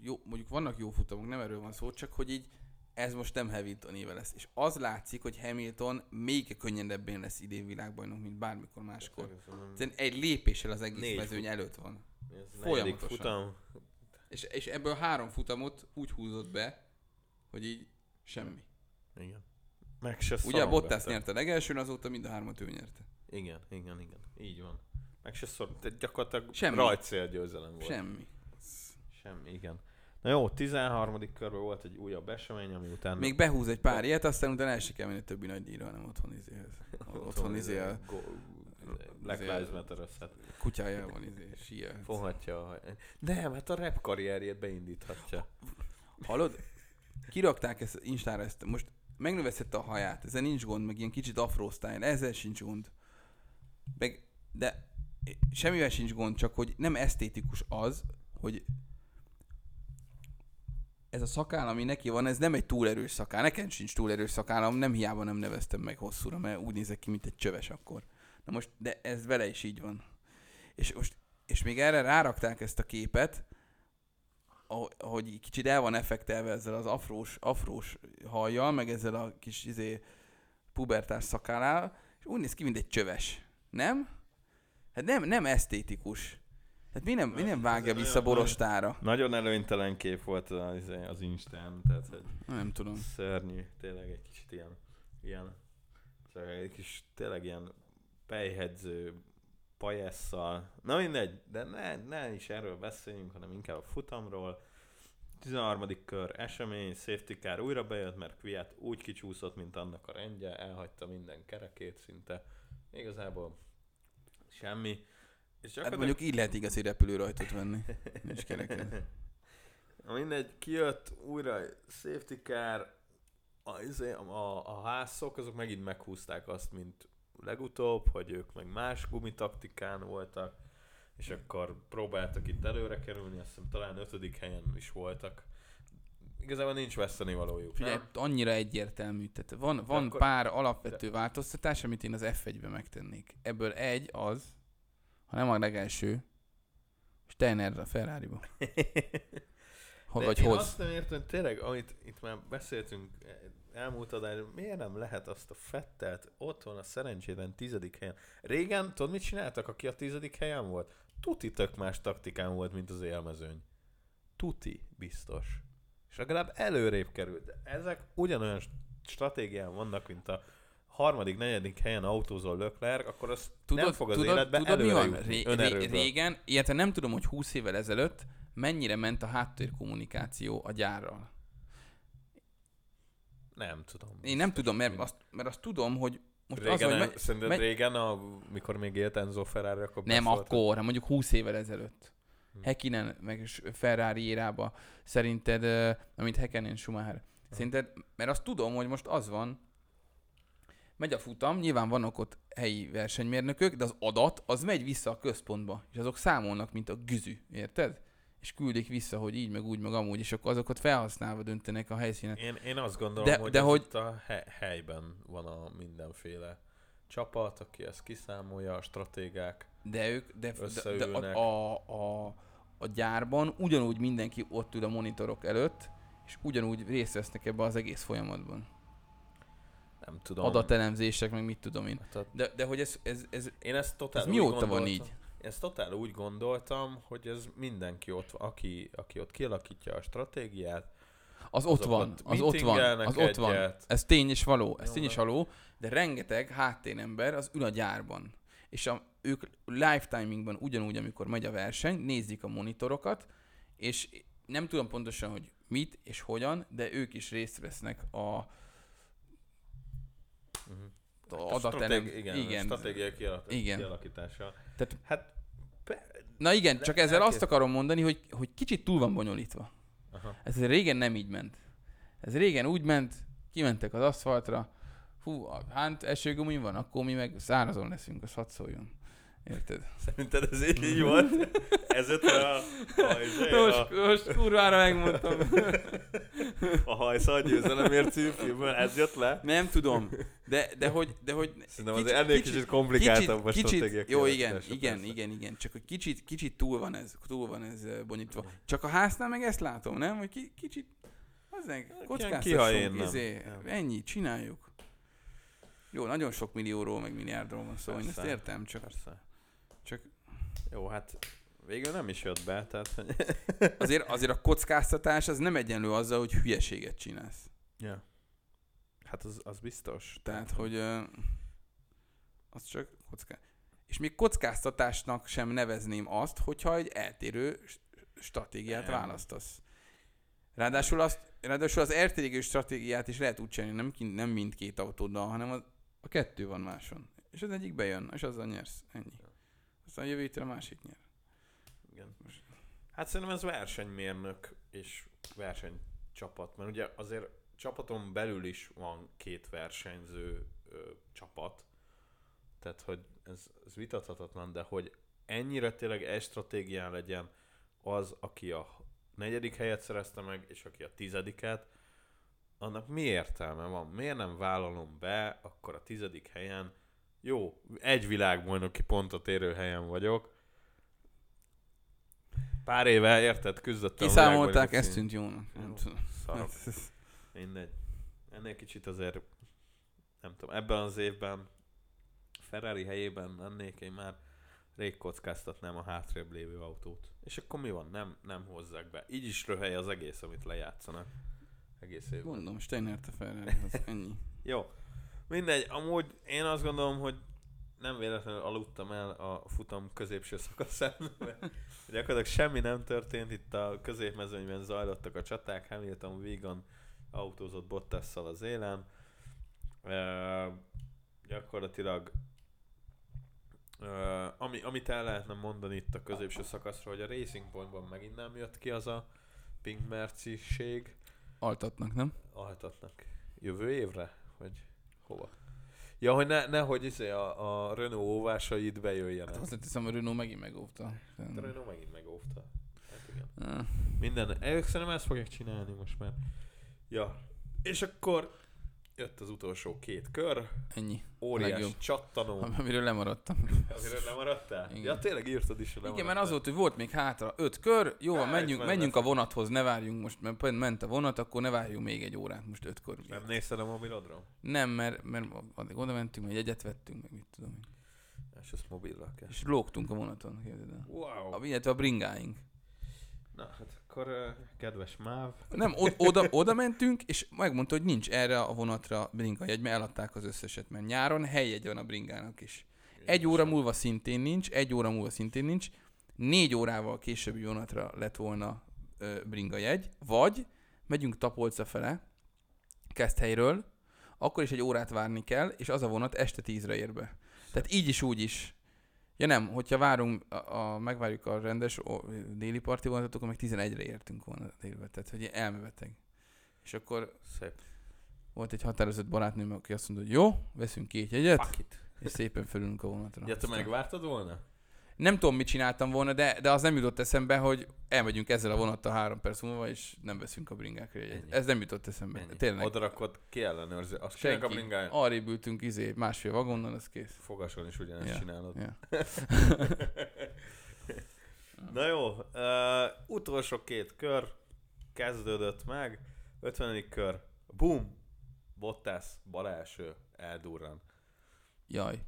Jó, mondjuk vannak jó futamok, nem erről van szó, csak hogy így ez most nem Hamilton éve lesz. És az látszik, hogy Hamilton még könnyedebbén lesz idén világbajnok, mint bármikor máskor. Szerintem egy lépéssel az egész Négy mezőny fut- előtt van. Folyamatosság. folyamatosan. futam. És, és ebből három futamot úgy húzott be, hogy így semmi. Igen. Meg se Ugye a szarong Bottas vette. nyerte a legelsőn, azóta mind a hármat ő nyerte. Igen, igen, igen. Így van. Meg se szor, tehát gyakorlatilag Semmi. Semmi. rajtszél győzelem volt. Semmi. Semmi, igen. Na jó, 13. körben volt egy újabb esemény, ami után... Még behúz egy pár ilyet, aztán utána el se kell menni a többi nagy díjra, hanem otthon izéhez. Otthon izé a Go, Black izé a- Lives matter összet. kutyája van izé, sír. Foghatja a... haj- Nem, hát a rap karrierjét beindíthatja. Hallod? Kirakták ezt Instára ezt, most megnövezhette a haját, ezzel nincs gond, meg ilyen kicsit afro style, ezzel sincs gond. Meg, de semmivel sincs gond, csak hogy nem esztétikus az, hogy ez a szakáll, ami neki van, ez nem egy túl erős szakáll. Nekem sincs túl erős szakállam, nem hiába nem neveztem meg hosszúra, mert úgy nézek ki, mint egy csöves akkor. Na most, de ez vele is így van. És most, és még erre rárakták ezt a képet, ahogy, ahogy így kicsit el van effektelve ezzel az afrós, afrós hajjal, meg ezzel a kis izé, pubertás szakálával, és úgy néz ki, mint egy csöves. Nem? Hát nem, nem esztétikus. Hát mi nem, mi nem vágja olyan- vissza olyan- borostára? Nagyon előnytelen kép volt az, izé, az Instán, tehát hogy Nem tudom. szörnyű, tényleg egy kicsit ilyen, ilyen, szóval egy kis, tényleg ilyen pejhedző pajesszal. Na mindegy, de ne, ne is erről beszéljünk, hanem inkább a futamról. 13. kör esemény, safety car újra bejött, mert Kviat úgy kicsúszott, mint annak a rendje, elhagyta minden kerekét szinte. Igazából semmi. És Hát mondjuk így lehet igazi repülőrajtot venni. Nincs kereked. Na Mindegy, kijött újra safety car, a, izé- a, a házszok, azok megint meghúzták azt, mint legutóbb, hogy ők meg más gumitaktikán voltak, és akkor próbáltak itt előre kerülni, azt hiszem talán ötödik helyen is voltak. Igazából nincs veszteni valójuk, Figyelj, nem? annyira egyértelmű. Tehát van, van akkor- pár alapvető változtatás, amit én az F1-be megtennék. Ebből egy az, ha nem a legelső, Steiner a Ferrari-ba. Ha De vagy én hoz. azt nem értem, hogy tényleg, amit itt már beszéltünk eh, elmúlt adásban, miért nem lehet azt a fettelt otthon a szerencsétlen tizedik helyen. Régen, tudod mit csináltak, aki a tizedik helyen volt? Tuti tök más taktikán volt, mint az élmezőny. Tuti, biztos. És legalább előrébb került. De ezek ugyanolyan st- stratégián vannak, mint a harmadik, negyedik helyen autózol Leclerc, akkor az tudod, nem fog az tudod, életbe tudod, mi előre van? jutni, Ré- ré- önerőből. régen, illetve nem tudom, hogy 20 évvel ezelőtt mennyire ment a háttérkommunikáció a gyárral. Nem tudom. Én nem tudom, mert azt, mert azt tudom, hogy most Régen, az, hogy a- me- szerinted me- régen, amikor még élt Enzo Ferrari, akkor Nem beszólt, akkor, hanem mondjuk 20 évvel ezelőtt. Hm. Hekinen, meg is Ferrari érába, Hm. szerinted, ö, amit Hekinen Schumacher. Szerinted, mert azt tudom, hogy most az van, megy a futam, nyilván vannak ott helyi versenymérnökök, de az adat az megy vissza a központba, és azok számolnak, mint a güzű, érted? És küldik vissza, hogy így, meg úgy, meg amúgy, és akkor azokat felhasználva döntenek a helyszínen. Én, én azt gondolom, De- hogy, de ez hogy- itt a he- helyben van a mindenféle csapat, aki ezt kiszámolja, a stratégák. De ők, de, de, de Összeülnek. a, a, a, a gyárban ugyanúgy mindenki ott ül a monitorok előtt, és ugyanúgy részt vesznek ebbe az egész folyamatban. Nem tudom. Adatelemzések, meg mit tudom én. Hát a- De, de hogy ez, ez, ez Én ezt totál Ez úgy mióta van gondoltam- így? Én ezt totál úgy gondoltam, hogy ez mindenki ott, aki, aki ott kialakítja a stratégiát, az ott Azok van, ott az ott van, meetingelnek az ott van. egyet. Ez tény és való, ez Jó, tény és de- való, de rengeteg háttérember az ül a gyárban. És a, ők lifetimingban ugyanúgy, amikor megy a verseny, nézik a monitorokat, és nem tudom pontosan, hogy mit és hogyan, de ők is részt vesznek a, Mhm. a A adatelem... stratégi- igen, igen. stratégiai kialak- Igen. kialakítása. Tehát- hát, pe, Na igen, Le- csak ezzel azt elkép- akarom mondani, hogy, hogy kicsit túl van bonyolítva. aha. Ez régen nem így ment. Ez régen úgy ment, kimentek az aszfaltra, hú, a hánt esőgumin van, akkor mi meg szárazon leszünk, az hadd szóljon. Érted? Szerinted ez így, így volt? Ez öt a, a, izé, Most, a, most kurvára megmondtam. a hajszal győzelemért című filmből, ez jött le? Nem tudom, de, de hogy... De hogy Szerintem az ennél kicsit komplikáltabb a stratégia kicsit, Jó, igen, kialakítása, igen, persze. igen, igen, csak hogy kicsit, kicsit túl van ez, túl van ez eh, bonyítva. Csak a háznál meg ezt látom, nem? Hogy ki, kicsit, az meg kihajén kockáztassunk, nem. izé, Nem. ennyi, csináljuk. Jó, nagyon sok millióról, meg milliárdról van szó, én ezt Persze. értem, csak Persze. Csak- Jó, hát végül nem is jött be, tehát... hogy- azért, azért a kockáztatás az nem egyenlő azzal, hogy hülyeséget csinálsz. Ja. Hát az, az biztos. Tehát, hogy ö, az csak kocká. És még kockáztatásnak sem nevezném azt, hogyha egy eltérő s- stratégiát Nem. választasz. Ráadásul, azt, ráadásul az eltérő stratégiát is lehet úgy csinálni, nem, kin- nem mindkét autóddal, hanem az, a kettő van máson. És az egyik bejön, és azzal nyersz. Ennyi. Aztán jövő hétre a másik nyer. Igen. Hát szerintem ez versenymérnök és versenycsapat, mert ugye azért csapaton belül is van két versenyző ö, csapat, tehát hogy ez, ez vitathatatlan, de hogy ennyire tényleg egy stratégián legyen az, aki a negyedik helyet szerezte meg, és aki a tizediket, annak mi értelme van? Miért nem vállalom be akkor a tizedik helyen? Jó, egy világbajnoki pontot érő helyen vagyok. Pár éve, érted, küzdöttem. a Kiszámolták, világbajnoki ez cím- tűnt jónak. Nem Jó. tudom. Szarok. Mindegy. Ennél kicsit azért, nem tudom, ebben az évben Ferrari helyében lennék, én már rég kockáztatnám a hátrébb lévő autót. És akkor mi van? Nem, nem hozzák be. Így is röhely az egész, amit lejátszanak. Egész évben. Mondom, Steiner te Ferrarihoz, ennyi. Jó. Mindegy, amúgy én azt gondolom, hogy nem véletlenül aludtam el a futam középső szakaszán, mert gyakorlatilag semmi nem történt, itt a középmezőnyben zajlottak a csaták, Hamilton vegan autózott Bottasszal az élen. Ö, gyakorlatilag ö, ami, amit el lehetne mondani itt a középső szakaszról, hogy a Racing Pointban megint nem jött ki az a Pink Merciség, Altatnak, nem? Hát altatnak. Jövő évre? Vagy hova? Ja, hogy ne, nehogy izé a, a Renault óvásait bejöjjenek. Hát hozzáteszem, a Renault megint megóvta. Hát a Renault megint megóvta. Hát igen. Ah, Minden. Ők szerintem ezt fogják csinálni most már. Ja. És akkor jött az utolsó két kör. Ennyi. Óriás Legjobb. csattanó. Am- Amiről lemaradtam. Amiről nem maradtál? Igen. Ja, tényleg írtad is, hogy nem Igen, mert az volt, hogy volt még hátra öt kör, jó, Á, van, ez menjünk, már menjünk a lesz. vonathoz, ne várjunk most, mert pont ment a vonat, akkor ne várjunk még egy órát most öt kör. Nem nézted a mobilodról? Nem, mert, mert addig oda mentünk, meg jegyet vettünk, meg mit tudom én. És ezt mobillal kell. És lógtunk a vonaton, képzeld el. Wow. A, illetve a bringáink. Na, hát akkor ö, kedves Máv. Nem, o- oda, oda mentünk, és megmondta, hogy nincs erre a vonatra bringa jegy, mert eladták az összeset, mert nyáron helyjegy van a bringának is. Egy óra múlva szintén nincs, egy óra múlva szintén nincs, négy órával későbbi vonatra lett volna ö, bringa jegy, vagy megyünk Tapolca fele, Keszthelyről, akkor is egy órát várni kell, és az a vonat este tízre ér be. Tehát így is, úgy is. Ja nem, hogyha várunk, a, a, megvárjuk a rendes o, déli parti vonatot, akkor meg 11-re értünk volna délbe. Tehát, hogy ilyen elmebeteg. És akkor Szép. Volt egy határozott barátnőm, aki azt mondta, hogy jó, veszünk két jegyet, Fuck it. és szépen fölülünk a vonatra. Ja, te Aztán- megvártad volna? Nem tudom, mit csináltam volna, de, de az nem jutott eszembe, hogy elmegyünk ezzel a vonattal három perc múlva, és nem veszünk a bringákra jegyet. Ennyi. Ez nem jutott eszembe. Ennyi. Tényleg. Oda rakod, ki ellenőrzi. Azt kinek a Senki. bringán? Arrébb ültünk izé, másfél vagonnal, az kész. Fogason is ugyanezt Ja. csinálod. Ja. Na jó, uh, utolsó két kör kezdődött meg. 50. kör. Boom! Bottas, bal első, eldurran. Jaj.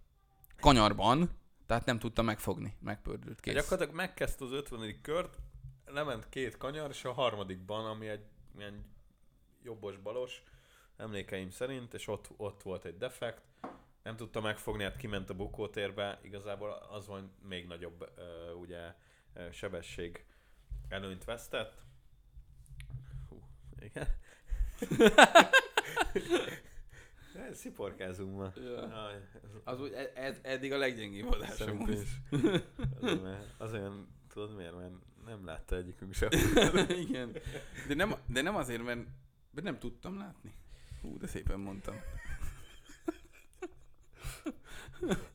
Kanyarban, tehát nem tudta megfogni. Megpördült, Kész. kész. Gyakorlatilag megkezdte az 50. kört, lement két kanyar, és a harmadikban, ami egy ilyen jobbos-balos, emlékeim szerint, és ott, ott volt egy defekt, nem tudta megfogni, hát kiment a bukótérbe, igazából az van még nagyobb ö, ugye ö, sebesség előnyt vesztett. Hú, igen. Sziporkázunk ma. Ja. Jaj, Az úgy, e- ez, eddig a leggyengébb adásom. Szerintem volt. is. Az, olyan- az olyan, tudod miért? Mert nem látta egyikünk sem. Igen. De nem, de nem azért, mert, mert nem tudtam látni. Hú, de szépen mondtam.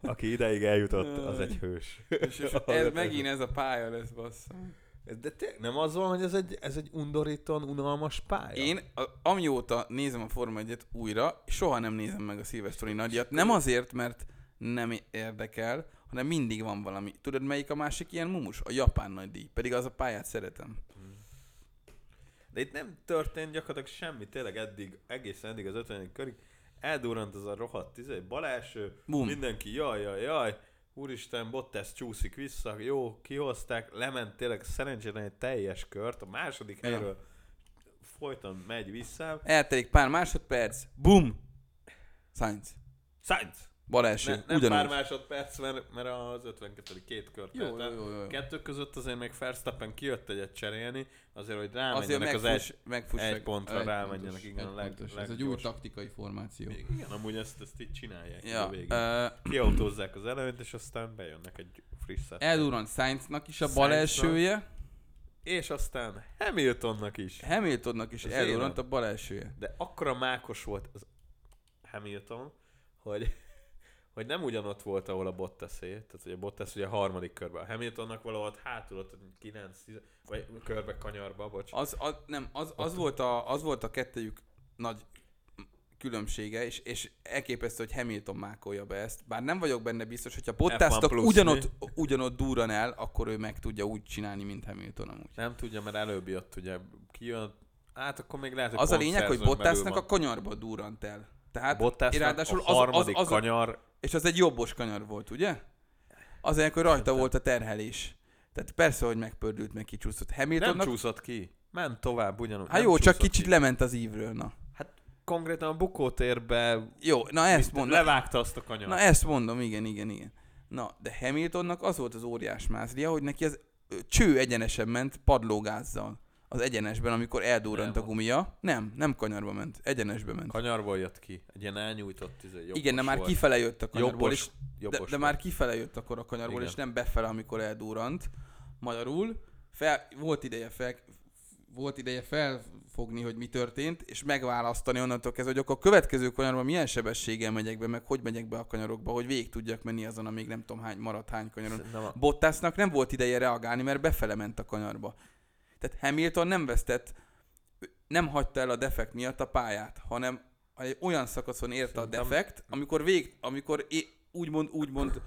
Aki ideig eljutott, az az egy egy hős. És, és ez, megint ez a pálya lesz, basszom. De te, nem az van, hogy ez egy, ez egy undorítóan unalmas pálya? Én, a, amióta nézem a Forma 1 újra, soha nem nézem meg a szilvesztori nagyjat. Nem azért, mert nem érdekel, hanem mindig van valami. Tudod, melyik a másik ilyen mumus? A japán nagy díj. Pedig az a pályát szeretem. De itt nem történt gyakorlatilag semmi, tényleg eddig, egészen eddig az 50. körig. Eldurrant az a rohadt izé, bal első, Bum. mindenki jaj, jaj, jaj, úristen, Bottas csúszik vissza, jó, kihozták, lement tényleg szerencsére egy teljes kört, a második Ja. helyről folyton megy vissza. Eltelik pár másodperc, bum! Sainz. Sainz! Bal első. Ne, nem ugyanúgy. pár másodperc, mert, mert az 52. két kör. Jó, telt el. jó, jó, jó. Kettő között azért még Verstappen kijött egyet cserélni, azért, hogy Azért rámenjenek az megfuss, egy... az megfussák. egy pontra Egy rámenjenek, pontos, igen, egy a leg- pontos. Ez egy leggyors. új taktikai formáció. Igen, amúgy ezt, ezt így csinálják ja, a Ja, végén. uh, Kiautózzák az előnyt, és aztán bejönnek egy friss szett. eldurrant Sainznak is a bal Sainznak. elsője, És aztán Hamiltonnak is. Hamiltonnak is Az eldurrant a élet. bal elsője. De akkora mákos volt az Hamilton, hogy, hogy nem ugyanott volt, ahol a Bottasé. Tehát ugye Bottas ugye a harmadik körben. A Hamiltonnak valahol ott hátul ott 9 10, vagy körbe kanyarba, bocs. Az, az, nem, az, az, volt a, az volt a kettejük nagy különbsége, és, és elképesztő, hogy Hamilton mákolja be ezt. Bár nem vagyok benne biztos, hogyha Bottasnak plusz, ugyanott, ugyanott durran el, akkor ő meg tudja úgy csinálni, mint Hamilton amúgy. Nem tudja, mert előbb jött, ugye kijön. Hát akkor még lehet, hogy Az a lényeg, hogy pontszerzőn Bottasnak belül a van. kanyarba durrant el. Tehát Bottasnak ráadásul a harmadik az, az, az, kanyar És az egy jobbos kanyar volt, ugye? Azért, hogy rajta volt a terhelés. Tehát persze, hogy megpördült, meg kicsúszott. nem Hamiltonnak... csúszott ki. Ment tovább ugyanúgy. Hát nem jó, csak csúszott kicsit ki. lement az ívről, na. Konkrétan a bukótérbe Jó, na ezt ezt mondom. levágta azt a kanyar. Na e- ezt mondom, igen, igen, igen. Na, de Hamiltonnak az volt az óriás mázlia, hogy neki az ö, cső egyenesen ment padlógázzal. Az egyenesben, amikor eldurrant Nem. a gumia. Nem, nem kanyarba ment, egyenesbe ment. Kanyarból jött ki. Egy ilyen elnyújtott izé, jobbos igen, de már volt. kifele jött a kanyarból, Jobbos, és jobbos De, de volt. már kifele jött akkor a kanyarból, Igen. és nem befele, amikor eldurrant. Magyarul fel, volt ideje fel, volt ideje felfogni, hogy mi történt, és megválasztani onnantól kezdve, hogy akkor a következő kanyarban milyen sebességgel megyek be, meg hogy megyek be a kanyarokba, hogy végig tudjak menni azon, amíg nem tudom hány maradt hány kanyaron. Szerintem a- Bottasnak nem volt ideje reagálni, mert befele ment a kanyarba. Tehát Hamilton nem vesztett, nem hagyta el a defekt miatt a pályát, hanem egy olyan szakaszon érte a Szerintem- defekt, amikor vég, amikor é, úgymond, úgymond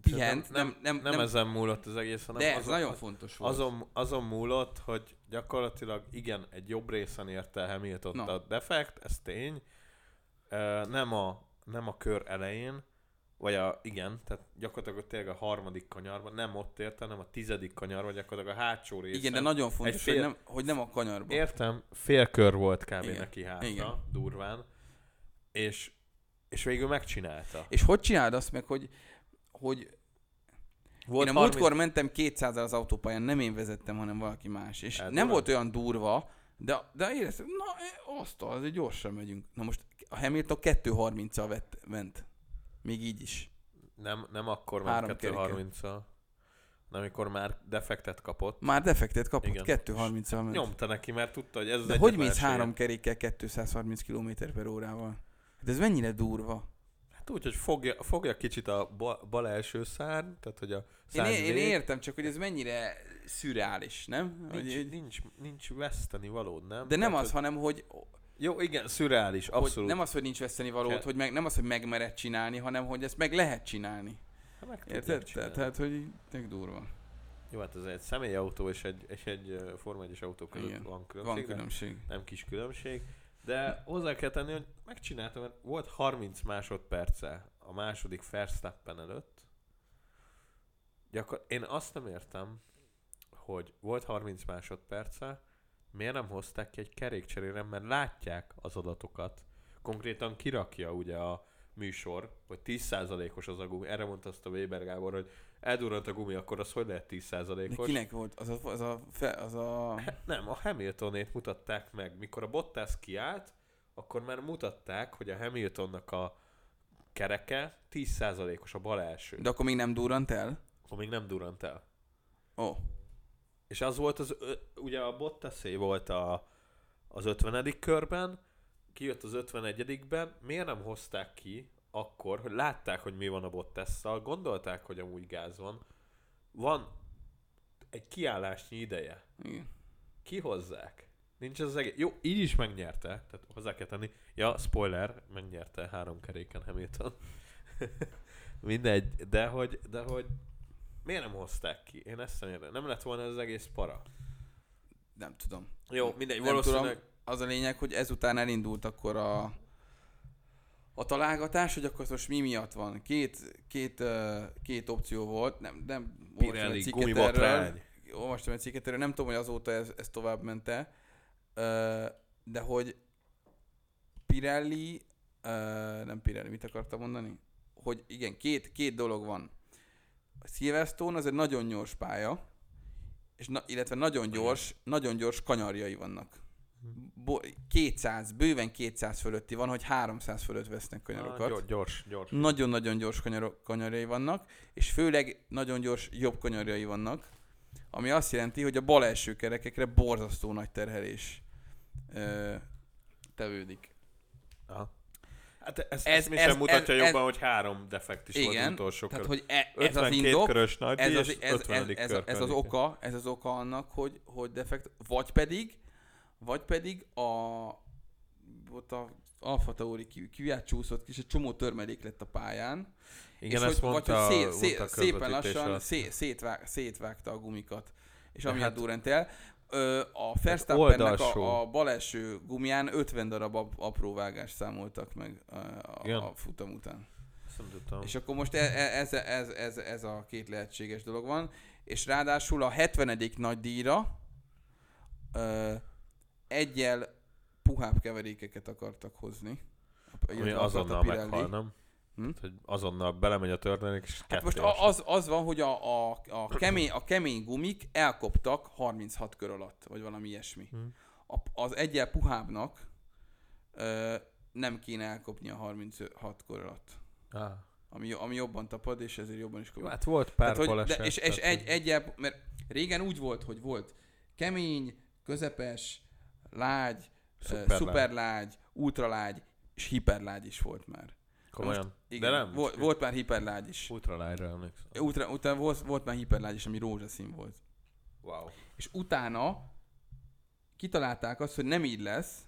pihent, Szerintem nem, nem, nem, nem, ezen múlott az egész, hanem de ez azon, nagyon fontos volt. azon, azon múlott, hogy gyakorlatilag igen, egy jobb részen érte el Hamilton Na. a defekt, ez tény. Ö, Nem a, nem a kör elején, vagy a, igen, tehát gyakorlatilag tényleg a harmadik kanyarban, nem ott érte, hanem a tizedik kanyarban, gyakorlatilag a hátsó részen. Igen, de nagyon fontos, fél- hogy, nem, hogy nem a kanyarban. Értem, fél kör volt kb. Igen, neki hátra, igen. durván, és, és végül megcsinálta. És hogy csináld azt meg, hogy, hogy Volt én a 30 múltkor mentem 200 az autópályán, nem én vezettem, hanem valaki más. És Hát, nem durva. volt olyan durva, de, de éreztem, na e, azt azért gyorsan megyünk. Na most a Hamilton 2.30-al vett, ment. Még így is. Nem, nem akkor Három ment keréken. 230 al amikor már defektet kapott. Már defektet kapott, Igen. 230 al ment. Nyomta neki, mert tudta, hogy ez az De hogy mész három kerékkel 230 km per órával? Hát ez mennyire durva. Hát úgy, hogy fogja, fogja kicsit a bal, bal első szárny, tehát hogy a Én, szárny é- én vég- értem csak, hogy ez mennyire szürreális, nem? Hogy, Nincs, hogy- nincs, nincs veszteni valód, nem? de nem Tehát, az, hogy... hanem hogy, Jó, igen, szürreális, hogy abszolút. nem az, hogy nincs veszteni valót, Kell. hogy meg, nem az, hogy megmered csinálni, hanem hogy ezt meg lehet csinálni. Hát meg tudják Érted? csinálni. Tehát, tehát, hogy így tök durva. Jó, hát ez egy személyautó és egy, és egy ö, Forma 1-es autó között Igen, van különbség. Van nem- különbség. nem kis különbség. De hozzá kell tenni, hogy megcsináltam, mert volt 30 másodperce a második Verstappen előtt. Gyakor- én azt nem értem, hogy volt 30 másodperce, miért nem hozták ki egy kerékcserére, mert látják az adatokat. Konkrétan kirakja ugye a műsor, hogy 10%-os az a gumi. Erre mondta azt a Weber Gábor, hogy eldurrant a gumi, akkor az hogy lehet De 10%-os? kinek volt? Az a, az a, fe, az a... Nem, a Hamiltonét mutatták meg. Mikor a Bottas kiállt, akkor már mutatták, hogy a Hamiltonnak a kereke 10%-os a bal első. De... De akkor még nem durrant el? Akkor még nem durant el. Ó, oh, És az volt az, ö- ugye a Bottasé volt a, az 50. körben, kijött az 51-ben, miért nem hozták ki akkor, hogy látták, hogy mi van a Bottasszal, gondolták, hogy amúgy gáz van, van egy kiállásnyi ideje. igen. kihozzák. Nincs ez az egész. Jó, így is megnyerte. Tehát hozzá kell tenni. Ja, spoiler, megnyerte három keréken Hamilton. Mindegy, de hogy, de hogy miért nem hozták ki? Én ezt nem értem. Nem lett volna ez az egész para. Nem tudom. Jó, mindegy, Nem valószínűleg... tudom. Az a lényeg, hogy ezután elindult akkor a, a találgatás, hogy akkor most mi miatt van. Két, két, ö, két opció volt, nem, nem olvastam egy Pirelli, cikket erről, gumibotrány. olvastam egy cikket erről, nem tudom, hogy azóta ez, ez tovább mente, Ö, de hogy Pirelli, ö, nem Pirelli, mit akartam mondani? Hogy igen, két, két dolog van. A Silverstone az egy nagyon gyors pálya, és na, illetve nagyon gyors, nagyon gyors kanyarjai vannak. Bo- 200, bőven 200 fölötti van, hogy 300 fölött vesznek kanyarokat. Ah, gyors, gyors. Nagyon-nagyon gyors kanyarok, kanyarjai vannak, és főleg nagyon gyors jobb kanyarjai vannak, ami azt jelenti, hogy a bal első kerekekre borzasztó nagy terhelés ö, tevődik. Aha. Hát ez, ez, Ez- ez, mi ez- sem mutatja ez- jobban, hogy három defekt is volt Igen, az utolsó Tehát, kör. hogy e, ez az 52 indok, körös nagy ez az, és ez, ez, 50. ez, kör ez az környékén. oka, ez az oka annak, hogy, hogy defekt, vagy pedig, vagy pedig a ott a Alfa Tauri ki, kiát csúszott ki, és egy csomó törmelék lett a pályán, Igen, és ezt hogy, mondta, vagy, hogy szé- szé- mondta a szépen közvetítés lassan alatt. szé- szétvág, szétvágta a gumikat, és De amiatt hát- durant el. Ö, a Verstappennek oldalsó. a, a bal első gumján 50 darab ap- apró vágást számoltak meg ö, Igen. a, a futam után. Ezt nem tudtam. És akkor most e- e- ez, ez, ez, ez a két lehetséges dolog van, és ráadásul a 70. nagy díjra ö, egyel puhább keverékeket akartak hozni. Ami Illetve akart a azonnal Pirelli. meghal, nem? Hm? Hm? Hogy azonnal belemegy a törnék, és Hát most ketté a- az, az van, hogy a, a, a, kemény, a kemény gumik elkoptak 36 kör alatt, vagy valami ilyesmi. Hmm. A, az egyel puhábbnak ö, nem kéne elkopni a 36 kör alatt. esik. Ah. Ami, jo- ami jobban tapad, és ezért jobban is Jó, kopad. hát volt pár Tehát, tehát, hogy, baleset. de, és, és tehát, egy, egyel, mert régen úgy volt, hogy volt kemény, közepes, lágy, Szuperlágy. szuperlágy, szuperlágy ultralágy, és hiperlágy is volt már. Komolyan. Igen, de nem. Volt, volt már hiperlágy is. Ultralájra emlékszem. Utána, utána volt, volt már hiperlágy is, ami rózsaszín volt. Wow. És utána kitalálták azt, hogy nem így lesz,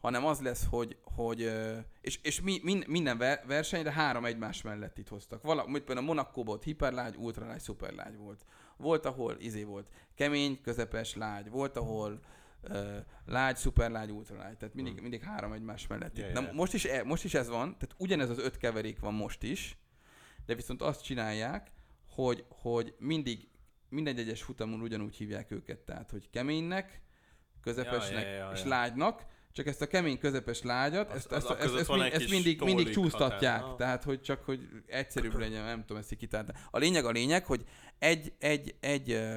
hanem az lesz, hogy, hogy ö, és, és mi, min, minden ver- versenyre három egymás mellett itt hoztak. Vala, mit például a Monaco volt hiperlágy, ultralágy, szuperlágy volt. Volt, ahol izé volt kemény, közepes, lágy. Volt, ahol ö, lágy, szuperlágy, ultralágy. Tehát mindig, Hmm. mindig három egymás mellett. Ja, itt. Na, ja, ja. most, is, e- most is ez van, tehát ugyanez az öt keverék van most is, de viszont azt csinálják, hogy, hogy mindig mindegy egyes futamon ugyanúgy hívják őket, tehát hogy keménynek, közepesnek Ja, ja, ja, ja. és lágynak, csak ezt a kemény közepes lágyat, Az- ezt, az ezt, a ezt, között ezt, van mi- egy ezt kis mindig, mindig tollik csúsztatják, határ. Ah. tehát hogy csak hogy egyszerűbb legyen, nem tudom ezt így kitálni. A lényeg a lényeg, hogy egy, egy, egy, ö,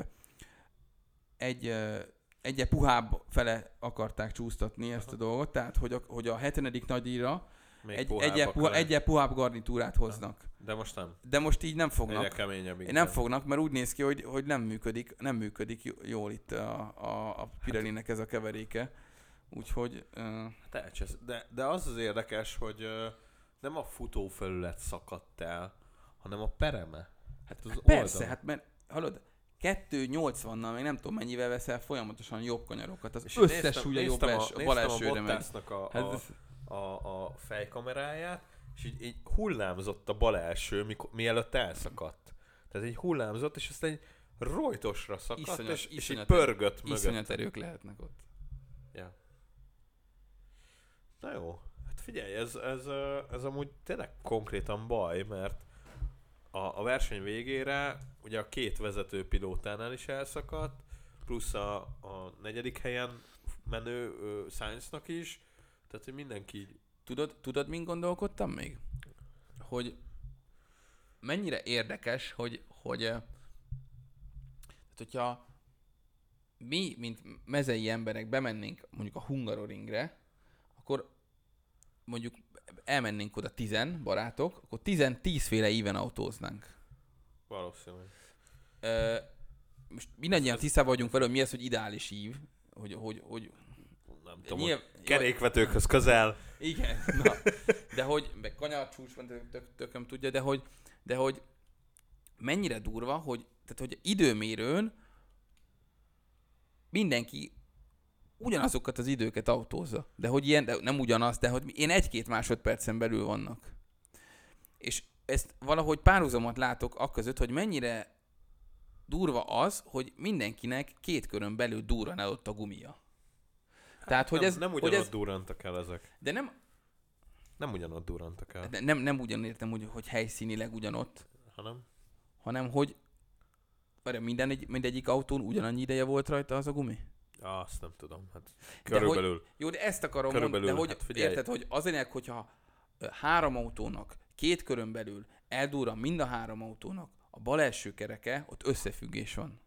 egy, ö, egy puhább fele akarták csúsztatni ezt a dolgot, tehát hogy a, hogy a hetenedik nagyíra Még Egy, puhábbak egyel, puha, le- egyel puhább garnitúrát hoznak. De most nem. De most így nem fognak. Egyre keményebb. Én nem inkább. fognak, mert úgy néz ki, hogy, hogy nem, működik, nem működik j- jól itt a, a, a Pirellinek ez a keveréke. Úgyhogy uh, Hát elcsesz. De, de az az érdekes, hogy ö, nem a futófelület szakadt el, hanem a pereme. Hát az persze, oldal. hát mert hallod, 2.80-nal még nem tudom mennyivel veszel folyamatosan jobb kanyarokat. Az És én összes súlya jobb es, a, bal esőre a megy. Bottasnak a, Hát a, ez- a, a fejkameráját, és így, így hullámzott a bal első, mikor, mielőtt elszakadt. Tehát így hullámzott, és aztán egy rojtosra szakadt, Iszonyat- és, és így iszonyat- pörgött mögött. iszonyat erők lehetnek ott. Ja. Na jó, hát figyelj, ez, ez, ö, ez amúgy tényleg konkrétan baj, mert a, a verseny végére ugye a két vezető pilótánál is elszakadt, plusz a, a negyedik helyen menő ö, Sainznak is, tehát hogy mindenki így Tudod, tudod, mint gondolkodtam még? Hogy mennyire érdekes, hogy, hogy eh, tehát hogyha mi, mint mezei emberek bemennénk mondjuk a Hungaroringre, akkor mondjuk elmennénk oda tizen barátok, akkor tizen tízféle íven autóznánk. valószínűleg. Ö, most mindannyian Ez- tisztában vagyunk vele, hogy mi az, hogy ideális ív, hogy, hogy, hogy Nem tudom, Nyilv... nyilv- hogy kerékvetőkhöz közel. Igen, na. De hogy, meg kanyarcsúcs van, tök, tök, tököm tudja, de hogy, de hogy mennyire durva, hogy, tehát, hogy időmérőn mindenki ugyanazokat az időket autózza. De hogy ilyen, de nem ugyanaz, de hogy én egy-két másodpercen belül vannak. És ezt valahogy párhuzamot látok akközött, hogy mennyire durva az, hogy mindenkinek két körön belül durran el ott a gumia. Tehát, hogy Hát nem, ez, nem hogy ugyanott ez, ez... durrantak el ezek. de nem, Nem ugyanott durrantak el, de Hát nem, nem ugyan értem, hogy, hogy helyszínileg ugyanott, hanem hanem hogy várj, minden egy, mindegyik autón ugyanannyi ideje volt rajta az a gumi? azt nem tudom. Hát körülbelül. Jó, de ezt akarom Körülbelül, mondani, de hát hogy figyelj. hát érted, hogy az lényeg, hogyha ö, három autónak két körön belül eldurran mind a három autónak a bal első kereke, ott összefüggés van.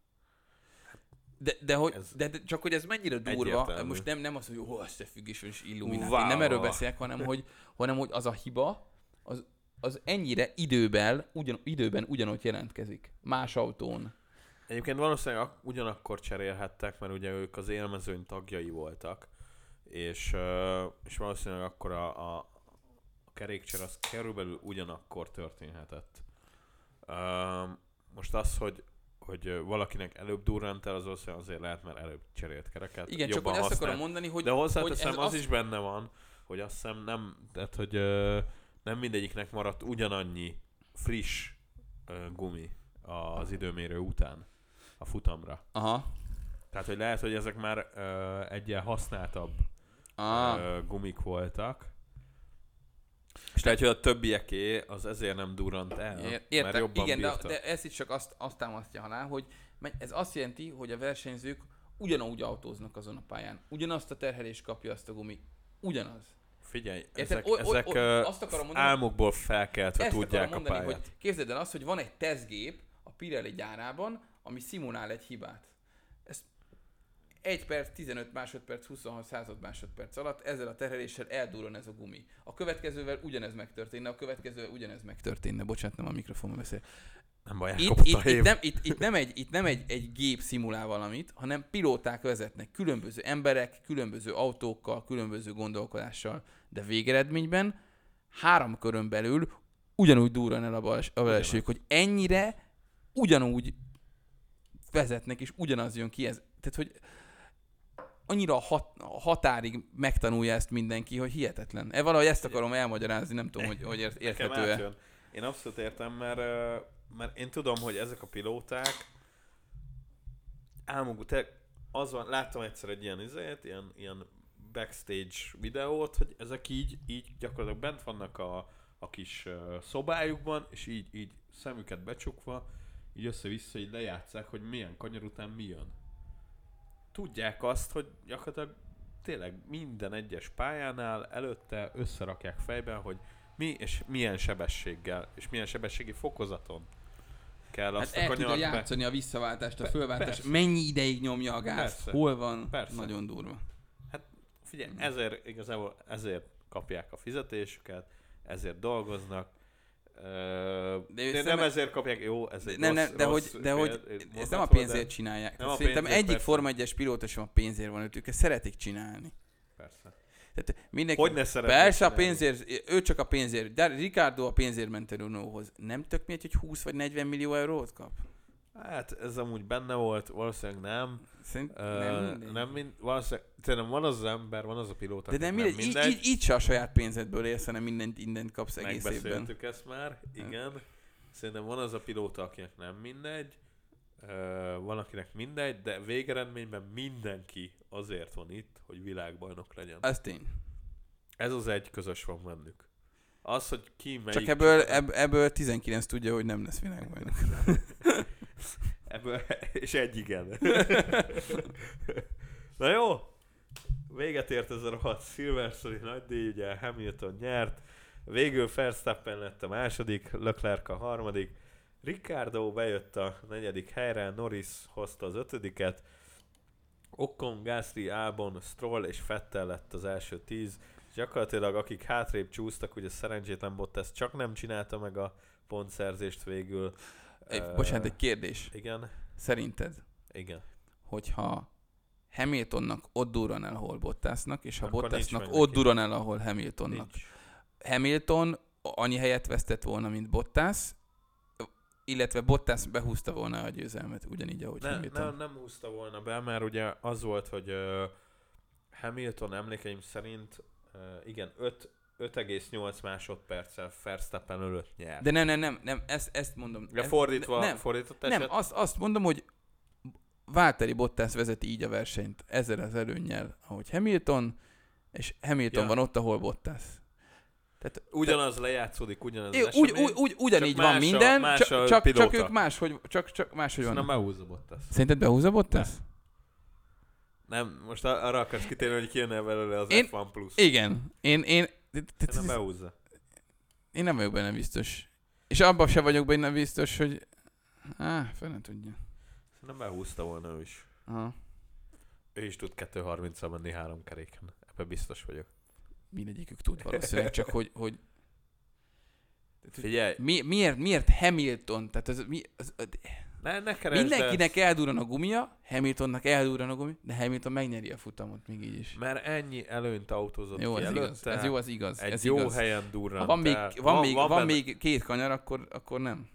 De, de, hogy, Ez de, de, csak hogy ez mennyire durva, egyértelmű. most nem, nem az, hogy ó, összefüggés van és illumináti, Wow. nem erről beszélek, hanem hogy, hanem hogy az a hiba, az, az ennyire időben, ugyan, időben ugyanott jelentkezik. Más autón. Egyébként valószínűleg ak- ugyanakkor cserélhettek, mert ugye ők az élmezőny tagjai voltak, és, ö, és valószínűleg akkor a, a, a kerékcser az körülbelül ugyanakkor történhetett. Um, most az, hogy hogy ö, valakinek előbb durrant el, az valószínűleg azért lehet, mert előbb cserélt kereket. Igen, csak Hát jobban hogy azt használt. akarom mondani, hogy De hozzáteszem, ez az, az azt- is benne van, hogy azt hiszem nem, tehát hogy ö, nem mindegyiknek maradt ugyanannyi friss ö, gumi az időmérő után a futamra. Aha. Tehát, hogy lehet, hogy ezek már ö, egyen használtabb Ah. ö, gumik voltak. És lehet, hogy a többieké az ezért nem durrant el, Ér- mert jobban igen, de, bírta. de ez itt csak azt, azt támasztja alá, hogy men- ez azt jelenti, hogy a versenyzők ugyanúgy autóznak azon a pályán. Ugyanazt a terhelést kapja azt a gumi. Ugyanaz. Figyelj, Érted? ezek, Oly- oly- ezek oly- ö, azt akarom mondani- álmokból felkeltve Ezt tudják akarom a mondani, pályát. hogy képzeld el azt, hogy van egy tesztgép a Pirelli gyárában, ami szimulál egy hibát. Ezt 1 perc, 15 másodperc, 26 század másodperc alatt ezzel a terheléssel eldurran ez a gumi. A következővel ugyanez megtörténne, a következővel ugyanez megtörténne. Bocsánat, nem a mikrofonba beszél. Nem baj, Itt, elkopott itt, a hép. itt, nem, itt, itt nem, egy, itt nem egy, egy gép szimulál valamit, hanem pilóták vezetnek, különböző emberek, különböző autókkal, különböző gondolkodással, de végeredményben három körön belül ugyanúgy durran el a bals- a belsők, hogy ennyire ugyanúgy vezetnek, és ugyanaz jön ki ez. Tehát, hogy annyira a hat, a határig megtanulja ezt mindenki, hogy hihetetlen. E, valahogy ezt akarom elmagyarázni, nem tudom, hogy, hogy ért- Nekem érthető-e. átjön. Én abszolút értem, mert, ö, mert én tudom, hogy ezek a pilóták álmuk, te az van, láttam egyszer egy ilyen izét, ilyen, ilyen backstage videót, hogy ezek így, így gyakorlatilag bent vannak a, a kis ö, szobájukban, és így, így szemüket becsukva, így össze-vissza így lejátszák, hogy milyen kanyar után mi jön. Tudják azt, hogy gyakorlatilag tényleg minden egyes pályánál előtte összerakják fejben, hogy mi és milyen sebességgel, és milyen sebességi fokozaton kell Hát azt el a tudja kanyart be- játszani a visszaváltást, a Pe- fölváltást, persze. mennyi ideig nyomja a gáz, Persze. hol van, Persze. nagyon durva. Figyelj, ezért igazából ezért kapják a fizetésüket, ezért dolgoznak, Ö, De de nem szerintem- ezért kapják, jó, ez egy De, rossz, ne, de rossz hogy, de hogy péld- ez én nem a mondhatom, de- pénzért csinálják. Nem Nem a Szerintem pénzért, egyik persze. Forma 1-es pilóta sem a pénzért van őt, ők ezt szeretik csinálni. Persze. Tehát mindenki, Hogy ne szeretnék Persze a csinálni? pénzért, ő csak a pénzért, de Ricardo a pénzért ment el Renaulthoz. Nem tök miért, hogy 20 vagy 40 millió eurót kap? Hát ez amúgy benne volt, valószínűleg nem. Szerint, Ö, nem, mindegy. nem mind, valószínűleg, szerintem van az az ember, van az a pilóta, de nem mindegy, mindegy, Így, így, így se a saját pénzedből élsz, hanem mindent, mindent kapsz egész évben. Megbeszéltük ezt már, igen. Szerintem van az a pilóta, akinek nem mindegy, ö, van akinek mindegy, de végeredményben mindenki azért van itt, hogy világbajnok legyen. Az tény. Ez az egy közös van bennük. Az, hogy ki melyik... Csak ebből, ebb, ebből 19 tudja, hogy nem lesz világbajnok. ebből... És egy igen. Na jó, véget ért ez a rohadt Silverstone nagy díj, ugye Hamilton nyert, végül Verstappen lett a második, Leclerc a harmadik, Ricardo bejött a negyedik helyre, Norris hozta az ötödiket, Okkon, Gasly, Albon, Stroll és Fettel lett az első tíz, és gyakorlatilag akik hátrébb csúsztak, ugye szerencsétlen Bottas csak nem csinálta meg a pontszerzést végül. Egy, Ö, bocsánat, egy kérdés. Igen, Szerinted, igen. hogyha Hamiltonnak ott durran el, ahol Bottasnak, és ha Akkor nincs Bottasnak meg ott neki. durran el, ahol Hamiltonnak. Nincs. Hamilton annyi helyet vesztett volna, mint Bottas, illetve Bottas behúzta volna a győzelmet, ugyanígy, ahogy Ne, Hamilton. ne, nem húzta volna be, mert ugye az volt, hogy uh, Hamilton emlékeim szerint uh, igen, öt- 5,8 másodperccel Verstappen előtt nyert. De nem, nem, nem, nem ezt, ezt mondom. De ezt- fordítva, nem, fordított eset? nem azt, azt mondom, hogy Válteri Bottas vezeti így a versenyt ezzel az előnnyel, ahogy Hamilton, és Hamilton Ja. van ott, ahol Bottas. Tehát ugyanaz lejátszódik, ugyanaz É, az úgy, esemény, úgy, úgy, ugyanígy csak van más a- minden, más csak, csak, a csak pilóta. ők máshogy, csak, csak máshogy és nem vannak. behúzza Bottas. Szerinted behúzza Bottas? Nem, most ar- arra akarsz kitérni, hogy kijönne belőle az Én- F1 plusz. Igen. Én, én, Nem behúzza. Én nem vagyok benne biztos. És abban sem vagyok benne biztos, hogy... Á, fel nem tudja. Nem behúzta volna ő is. Aha. Ő is tud 2.30-al menni három keréken. Ebben biztos vagyok. Mindegyikük tud valószínűleg, csak hogy... hogy Figyelj, mi, miért, miért Hamilton? Tehát ez, mi, az, az, ne, ne keresd mindenkinek eldurran a gumia, Hamiltonnak eldurran a gumia, de Hamilton megnyeri a futamot még így is. ezt, Mert ennyi előnyt autózott Jó, ki ez előtte. igaz. Ez jó, az igaz. Egy ez jó igaz. helyen durrant Ha van még, el. van, még, van, benne- még két kanyar, akkor, akkor nem.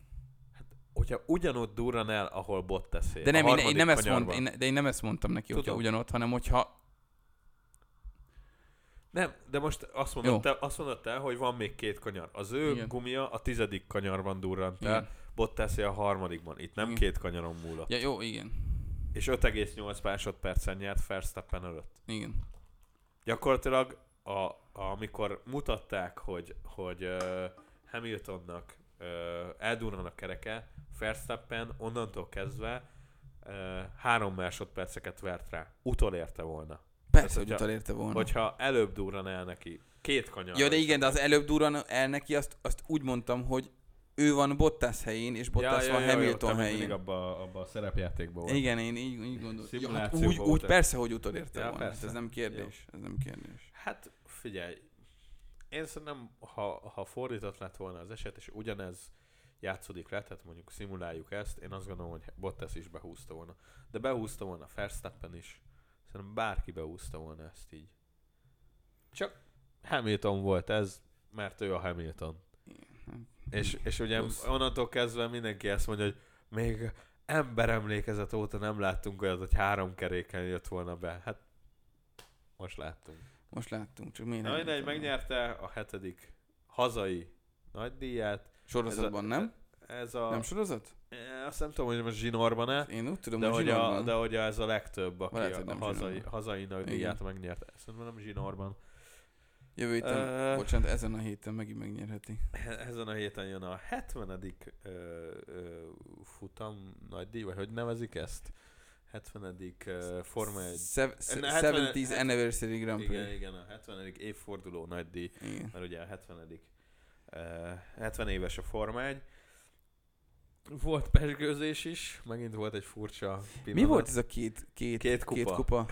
Hogyha ugyanott durran el, ahol bot teszi. De nem, a én, én, nem harmadik ezt mond, kanyarban. én, de én nem ezt mondtam neki, hogyha Tudom. ugyanott, hanem hogyha... Nem, de most azt Jó. mondod, te, azt mondod te, hogy van még két kanyar. Az ő Igen. Igen. gumia a tizedik kanyarban durrant Igen. el, Bottasé a harmadikban. Itt nem Igen. két kanyaron múlott. Ja, jó, igen. És 5,8 másodpercen nyert Verstappen előtt. Igen. Gyakorlatilag, a, a, amikor mutatták, hogy, hogy uh, Hamiltonnak uh, eldurran a kereke, Verstappen onnantól kezdve uh, három másodperceket vert rá. Utolérte volna. Persze, Tehát, hogy hogyha- utalérte volna. Hogyha előbb durran el neki. Két kanyar. Ja, de igen, de az előbb durran el neki, azt, azt úgy mondtam, hogy ő van Bottas helyén, és Bottas van Hamilton te még helyén. mindig abba, abba a szerepjátékban volt. Igen, én így, így gondoltam. Ja, hát Szimulációban úgy, volt úgy ez. persze, hogy utolérte Ja, volna. Hát persze. Ez nem kérdés. Ez nem kérdés. Hát figyelj, én szerintem, ha, ha fordított lett volna az eset, és ugyanez játszódik le, tehát mondjuk szimuláljuk ezt, én azt gondolom, hogy Bottas is behúzta volna. De behúzta volna Verstappen is. Szerintem bárki behúzta volna ezt így. Csak Hamilton volt ez, mert ő a Hamilton. És, és ugye Plusz. onnantól kezdve mindenki ezt mondja, hogy még emberemlékezet óta nem láttunk olyat, hogy három keréken jött volna be. Hát most láttunk. Most láttunk, csak miért Na nem mindegy, jutott el. megnyerte a hetedik hazai nagydíját. Sorozatban Ez a- nem? Ez a... Nem Nem sorozat? azt nem tudom, hogy most zsinórban-e, Én úgy tudom, de hogy hogy, a, zsinórban. de hogy ez a legtöbb, aki Lehet, hogy a nem hazai, zsinórban. hazai nagydíját megnyerte. Szerintem nem zsinórban. Jövő héten, Ö, bocsánat, ezen a héten megint megnyerheti. Ezen a héten jön a 70. Ö, ö, futam nagydíj, vagy hogy nevezik ezt? 70. Ö, Forma 1. Sev- se- Na, hetven- 70th Anniversary Grand Igen, Prix. igen, a 70. évforduló nagydíj. Igen. mert ugye a 70. eh, 70 éves a formány. Volt pesgőzés is, megint volt egy furcsa Mi pillanat. volt ez a két, két, Két kupa. Két kupa?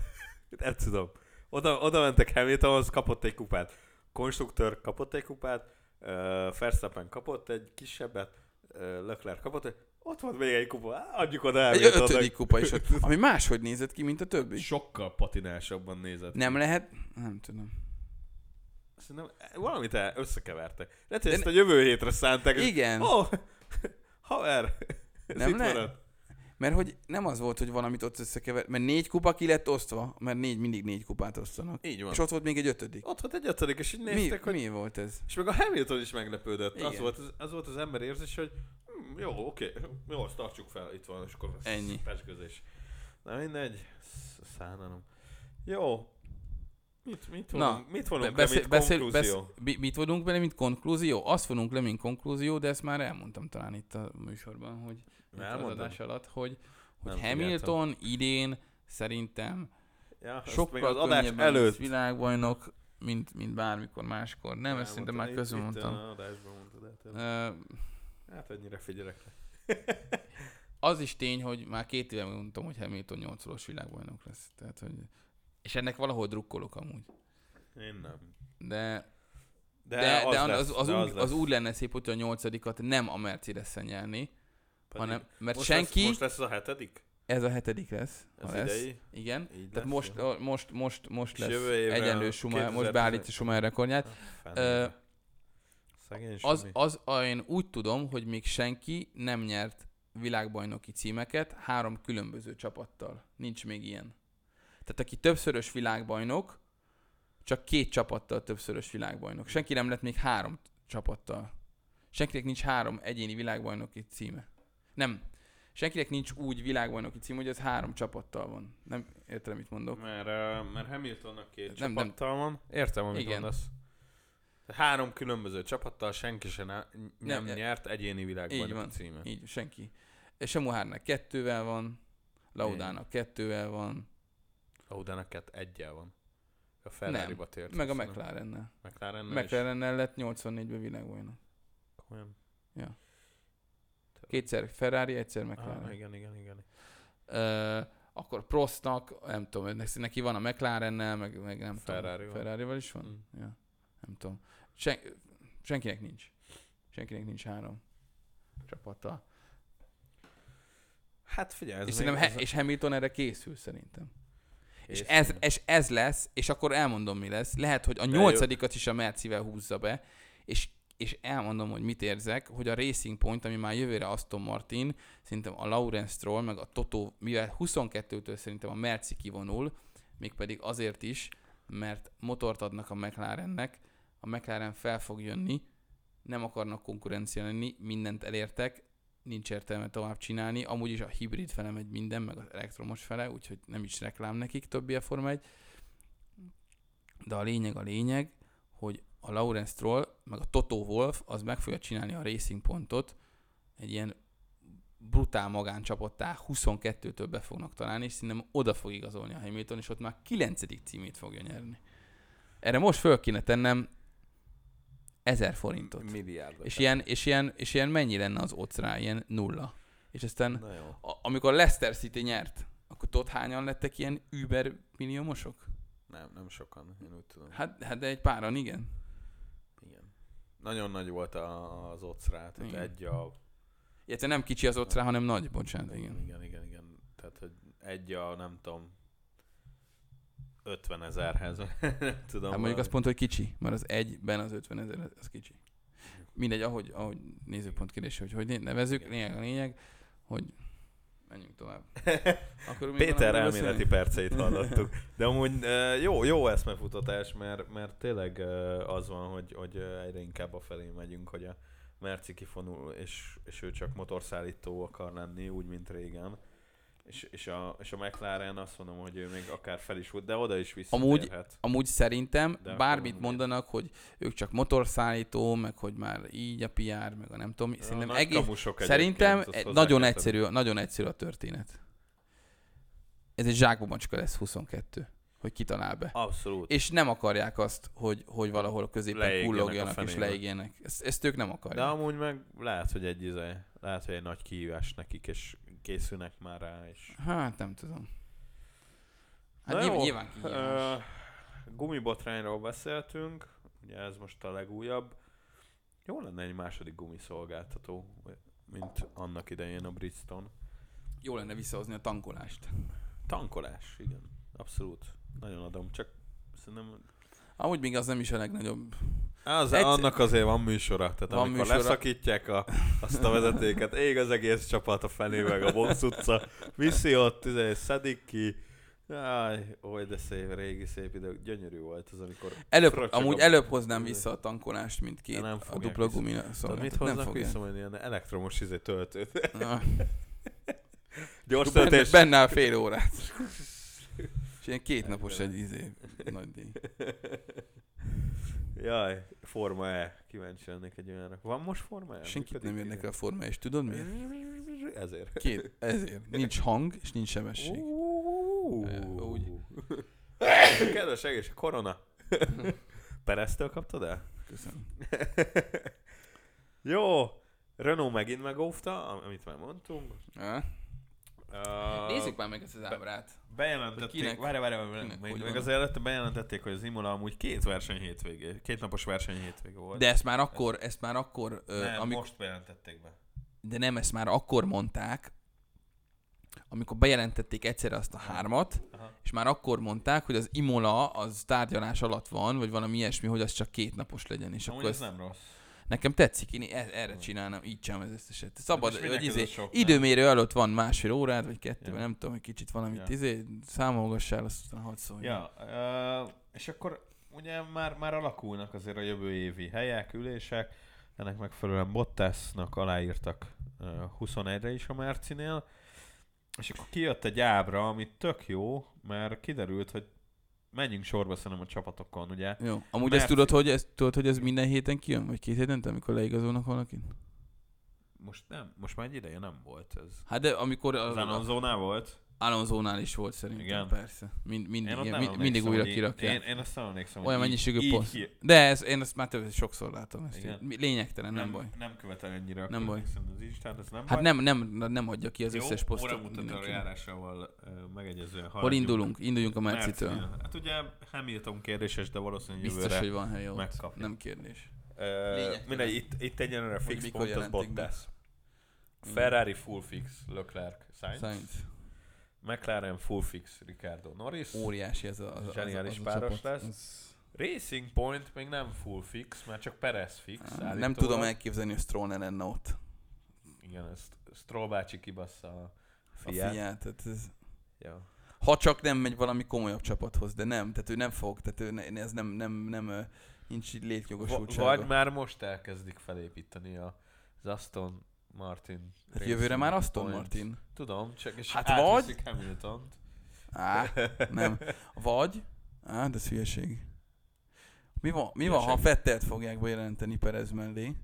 Nem tudom. Oda, oda mentek Hamiltonhoz, kapott egy kupát. konstruktőr kapott egy kupát, ö, Verstappen kapott egy kisebbet, ö, Leclerc kapott egy, ott volt még egy kupa, Á, adjuk oda Egy Hamiltonnak. ötödik kupa is ott, ami máshogy nézett ki, mint a többi. Sokkal patinásabban nézett. Nem lehet, nem tudom. Szerintem valamit el, összekevertek. Lehet, hogy De ezt a jövő hétre szánták. és- Igen. Ó, oh, haver, ez Nem itt lehet. maradt. Mert hogy nem az volt, hogy valamit ott összekever, mert négy kupa ki lett osztva, mert négy, mindig négy kupát osztanak. Így van. És ott volt még egy ötödik. Ott volt egy ötödik, és így Mi, néztek, hogy... mi volt ez? És meg a Hamilton is meglepődött. Az Igen. volt, az, az volt az ember érzés, hogy hm, jó, oké, jó, azt tartsuk fel, itt van, és akkor ez Ennyi. Pecsközés. Na mindegy, sz- szánalom. Jó. Mit, mit Na, vonunk, Na, mit vonunk le, Beszél- mint beszél- konklúzió? besz- mi- mit vonunk bele, mint konklúzió? Azt vonunk le, mint konklúzió, de ezt már elmondtam talán itt a műsorban, hogy itt az Elmondod? adás alatt, hogy, hogy Nem Hamilton idén szerintem Ja, ezt még sokkal az adás könnyebben előtt. lesz világbajnok, mint, mint bármikor máskor. Nem, ezt szerintem már Elmondtad, közben itt- itt mondtam. a adásban mondtad, hát ez- Ö, Hát annyira figyelek le. az is tény, hogy már két éve mondtam, hogy Hamilton 8 os világbajnok lesz. Tehát, hogy... És ennek valahol drukkolok amúgy. Én nem. De, De, de, de, lesz, az, az, de úgy, lesz. az úgy lenne szép, hogyha a nyolcadikat nem a Mercedes-en nyerni, Pedig hanem, mert most hát senki, Lesz, most lesz ez a hetedik? ez a hetedik lesz, Ez ha lesz. idei? Igen. Így Tehát lesz, most, jó? a- most, most, most És lesz jövő évre egyenlő a Schumacher, most 2011 beállítja Schumacher rekordját. Fenn. Ö, Szegény Az, Sumi. az, a- én úgy tudom, hogy még senki nem nyert világbajnoki címeket három különböző csapattal. Nincs még ilyen. Tehát aki többszörös világbajnok, csak két csapattal többszörös világbajnok. Senki nem lett még három t- csapattal. Senkinek nincs három egyéni világbajnoki címe. Nem. Senkinek nincs úgy világbajnoki cím, hogy ez három csapattal van. Nem értem, mit mondok. Mert, ö, mert Hamiltonnak két Nem, nem, nem. csapattal van. Értem, amit Igen. Igen. mondasz. Tehát Három különböző csapattal senki sem nem, nem Nem, e- nyert egyéni így van. világbajnoki címet. Így, senki. Semuhárnak kettővel van, Laudának kettővel van, Audának hát egyel van. A Ferrari-ba tért. Meg a azt hiszem. McLarennel. McLarennel is. McLarennel lett 84-ben világbajnok. Olyan. Ja. Kétszer Ferrari, egyszer Ah, McLaren. igen, igen, igen. Ö, akkor Prostnak, nem tudom, neki- neki van a McLarennel, meg, meg nem tudom. Ferrari-val. Ferrari-val is van? Mm. Ja. Nem tudom. Sen, senkinek nincs. Senkinek nincs három csapata. Hát figyelj, ez És, még- szerintem ez he, a- és Hamilton erre készül szerintem. És Készül. ez, és ez lesz, és akkor elmondom, mi lesz. Lehet, hogy a jó. nyolcadikat is a Mercivel húzza be, és, és elmondom, hogy mit érzek, hogy a Racing Point, ami már jövőre Aston Martin, szerintem a Lawrence Stroll, meg a Toto, mivel 22-től szerintem a Merci kivonul, mégpedig azért is, mert motort adnak a McLarennek, a McLaren fel fog jönni, nem akarnak konkurencia lenni, mindent elértek, nincs értelme tovább csinálni, amúgy is a hibrid fele megy minden, meg az elektromos fele, úgyhogy nem is reklám nekik többi a Forma 1. De a lényeg a lényeg, hogy a Lawrence Stroll, meg a Toto Wolf, az meg fogja csinálni a Racing Pontot, egy ilyen brutál magáncsapatá 22-től be fognak találni, és szerintem oda fog igazolni a Hamilton, és ott már 9. címét fogja nyerni. Erre most föl kéne tennem 1000 forintot. Milliárdot. És ilyen, és, ilyen, és ilyen mennyi lenne az odds rá? Ilyen nulla. És aztán, Na jó. a, amikor Leicester City nyert, akkor tudod hányan lettek ilyen über milliómosok? Nem, nem sokan, én úgy tudom. Hát, hát de egy páran, igen. Igen. Nagyon nagy volt a, az odds rá, tehát Igen. egy a... Illetve nem kicsi az odds rá, hanem nagy, bocsánat, Hát igen. igen, igen, igen. Tehát, hogy egy a, nem tudom, 50 ezerhez, nem tudom. Hát mondjuk valami. azt pont, hogy kicsi, mert az egyben az 50 ezer, az- az kicsi. Mindegy, ahogy, ahogy nézőpont kérdése, hogy hogy né- nevezzük, Igen. lényeg a lényeg, hogy menjünk tovább. Akkor még Péter valamiről elméleti beszélünk? perceit hallottuk. De amúgy ö, jó, jó eszmefutatás, mert, mert tényleg ö, az van, hogy, hogy ö, egyre inkább a felé megyünk, hogy a Merci kifonul, és, és ő csak motorszállító akar lenni, úgy, mint régen. És, és, a, és a McLaren azt mondom, hogy ő még akár fel is volt, de oda is visszatérhet. Amúgy szerintem De De akkor bármit nem mondanak, hogy ők csak motorszállító, meg hogy már így a PR, meg a nem tudom, mi. A szerintem nagy egész, kamusok szerintem egyébként, azt egy- hozzá nagyon kell egyszerű, nagyon egyszerű a történet. Ez egy zsákba macska lesz 22, hogy kitalál be. tenni. Abszolút. És nem akarják azt, hogy, hogy valahol a középen Leégjenek a kullogjanak és fenébe. leégjenek. Ezt, ezt ők nem De akarják. amúgy meg lehet, hogy egy izé, lehet, hogy egy nagy kihívás nekik, és készülnek már rá, és... Hát nem tudom. Hát Na nyilván, jó, nyilván kihívás. ö, Gumibotrányról beszéltünk, Ugye ez most a legújabb. Jó lenne egy második gumiszolgáltató, mint annak idején a Bridgestone. Jó lenne visszahozni a tankolást. Tankolás, igen. Abszolút. Nagyon adom, csak szerintem Amúgy még az nem is a legnagyobb. az, Egyszer- annak azért van műsora, tehát Van van amikor műsora. műsora. leszakítják a, azt a vezetéket, ég az egész csapat a fenéveg a box utca, viszi ott, izé, szedik ki, Jaj, oly de szép, régi szép idők, gyönyörű volt az, amikor... Előbb, Fröccsög amúgy a- előbb hoznám vissza a tankolást, mint két De nem a fogják dupla vissza. gumina Tudod, szóval. mit nem hoznak fogják. vissza, hogy ilyen elektromos izé töltőt? Ah, Gyors benne, töltés. benne áll fél órát. És ilyen két napos egy izé nagy díj. Jaj, Forma E. Kíváncsi lennék egy olyanra. Van most Forma E? Senkit Működik? nem érdekel a forma, és tudod miért? Ezért. Két, ezért. Nincs hang, és nincs sebesség. Ó. Úgy. Kedves egész, korona. Pereztől kaptad el? Köszönöm. Jó. Renault megint megóvta, am- amit már mondtunk. Ah. Uh, Nézzük már meg ezt az ábrát. Hogy Bejelentették, kinek- várj, várj, várj, kinek még, még hogy van. az előtte bejelentették, hogy az Imola amúgy két verseny hétvégé, két napos verseny hétvégé volt. De ezt már akkor, ezt már akkor, ö, nem, amik, most bejelentették be. de nem, ezt már akkor mondták, amikor bejelentették egyszer azt a hármat, Aha. és már akkor mondták, hogy az Imola az tárgyalás alatt van, vagy valami ilyesmi, hogy az csak két napos legyen, és És Amúgy akkor ez ezt, nem rossz. nekem tetszik, én e- erre csinálnám, így sem az összeset. Szabad, És vagy mindenki izé, az sok, nem? időmérő előtt van másfél órád, vagy kettő, Ja. vagy nem tudom, egy kicsit valamit Ja. izé, számolgassál, azt aztán hadd szólj. Ja, ö, és akkor ugye már, már alakulnak azért a jövő évi helyek, ülések, ennek megfelelően Bottasnak aláírtak ö, 21-re is a Márcinél, és akkor kijött egy ábra, ami tök jó, mert kiderült, hogy menjünk sorba szerintem a csapatokon, ugye? Jó. Amúgy Mert- ezt tudod, hogy ez, tudod, hogy ez minden héten kijön? Vagy két hétente, amikor leigazolnak valakit? Most nem, most már egy ideje nem volt ez. Hát de amikor Az az Alonso-nál volt? Alonso-nál is volt szerintem, Igen. persze. Mind, mind, ott igen, nem mind, mindig emlékszem, újra hogy í- kirakják. Én, én azt nem emlékszem, Olyan hogy így- mennyiségű így poszt. ki- De ez, én ezt már több, sokszor látom. Ezt Igen. így. Lényegtelen, nem, baj. Nem követel ennyire. Nem baj. Szerintem az Instán, ez nem Hát baj. nem, nem, nem adja ki az összes Óra posztot mutató mindenkinek. járásával ö, megegyezően Hol haladjunk. indulunk? Induljunk a Mercitől. Mercinél. Hát ugye Hamilton kérdéses, de valószínűleg Biztos, jövőre. hogy van hely ott. megkapjuk. Nem kérdés. Ö, Lényegtelen. mindegy, itt, itt egyenlőre Hogy fix mikor pont az jelentik be. Bottas. Igen. Ferrari full fix, Leclerc, Sainz. Sainz. McLaren full fix, Ricardo Norris. Óriási ez a, az, az, az, Zseniális az a páros csapat. lesz. Ez- Racing Point még nem full fix, már csak Perez fix. Ah, Nem állítólag. tudom elképzelni, hogy Stroll ne lenne ott. Igen, ezt Stroll bácsi kibassza a A fiát. fiát. Tehát ez... Ja. Ha csak nem megy valami komolyabb csapathoz, de nem, tehát ő nem fog, tehát ő ne, ez nem, nem, nem, ö, nincs így Va- létjogosultsága. Vagy már most elkezdik felépíteni a, az Aston Martin. hát jövőre már Aston Point. Martin. Tudom, csak és Hát hát vagy- vagy... Hamilton-t. Á, nem. Vagy, á, de ez hülyeség. Mi van, mi van ha Hülyeség. Fettelt fogják bejelenteni Perez mellé?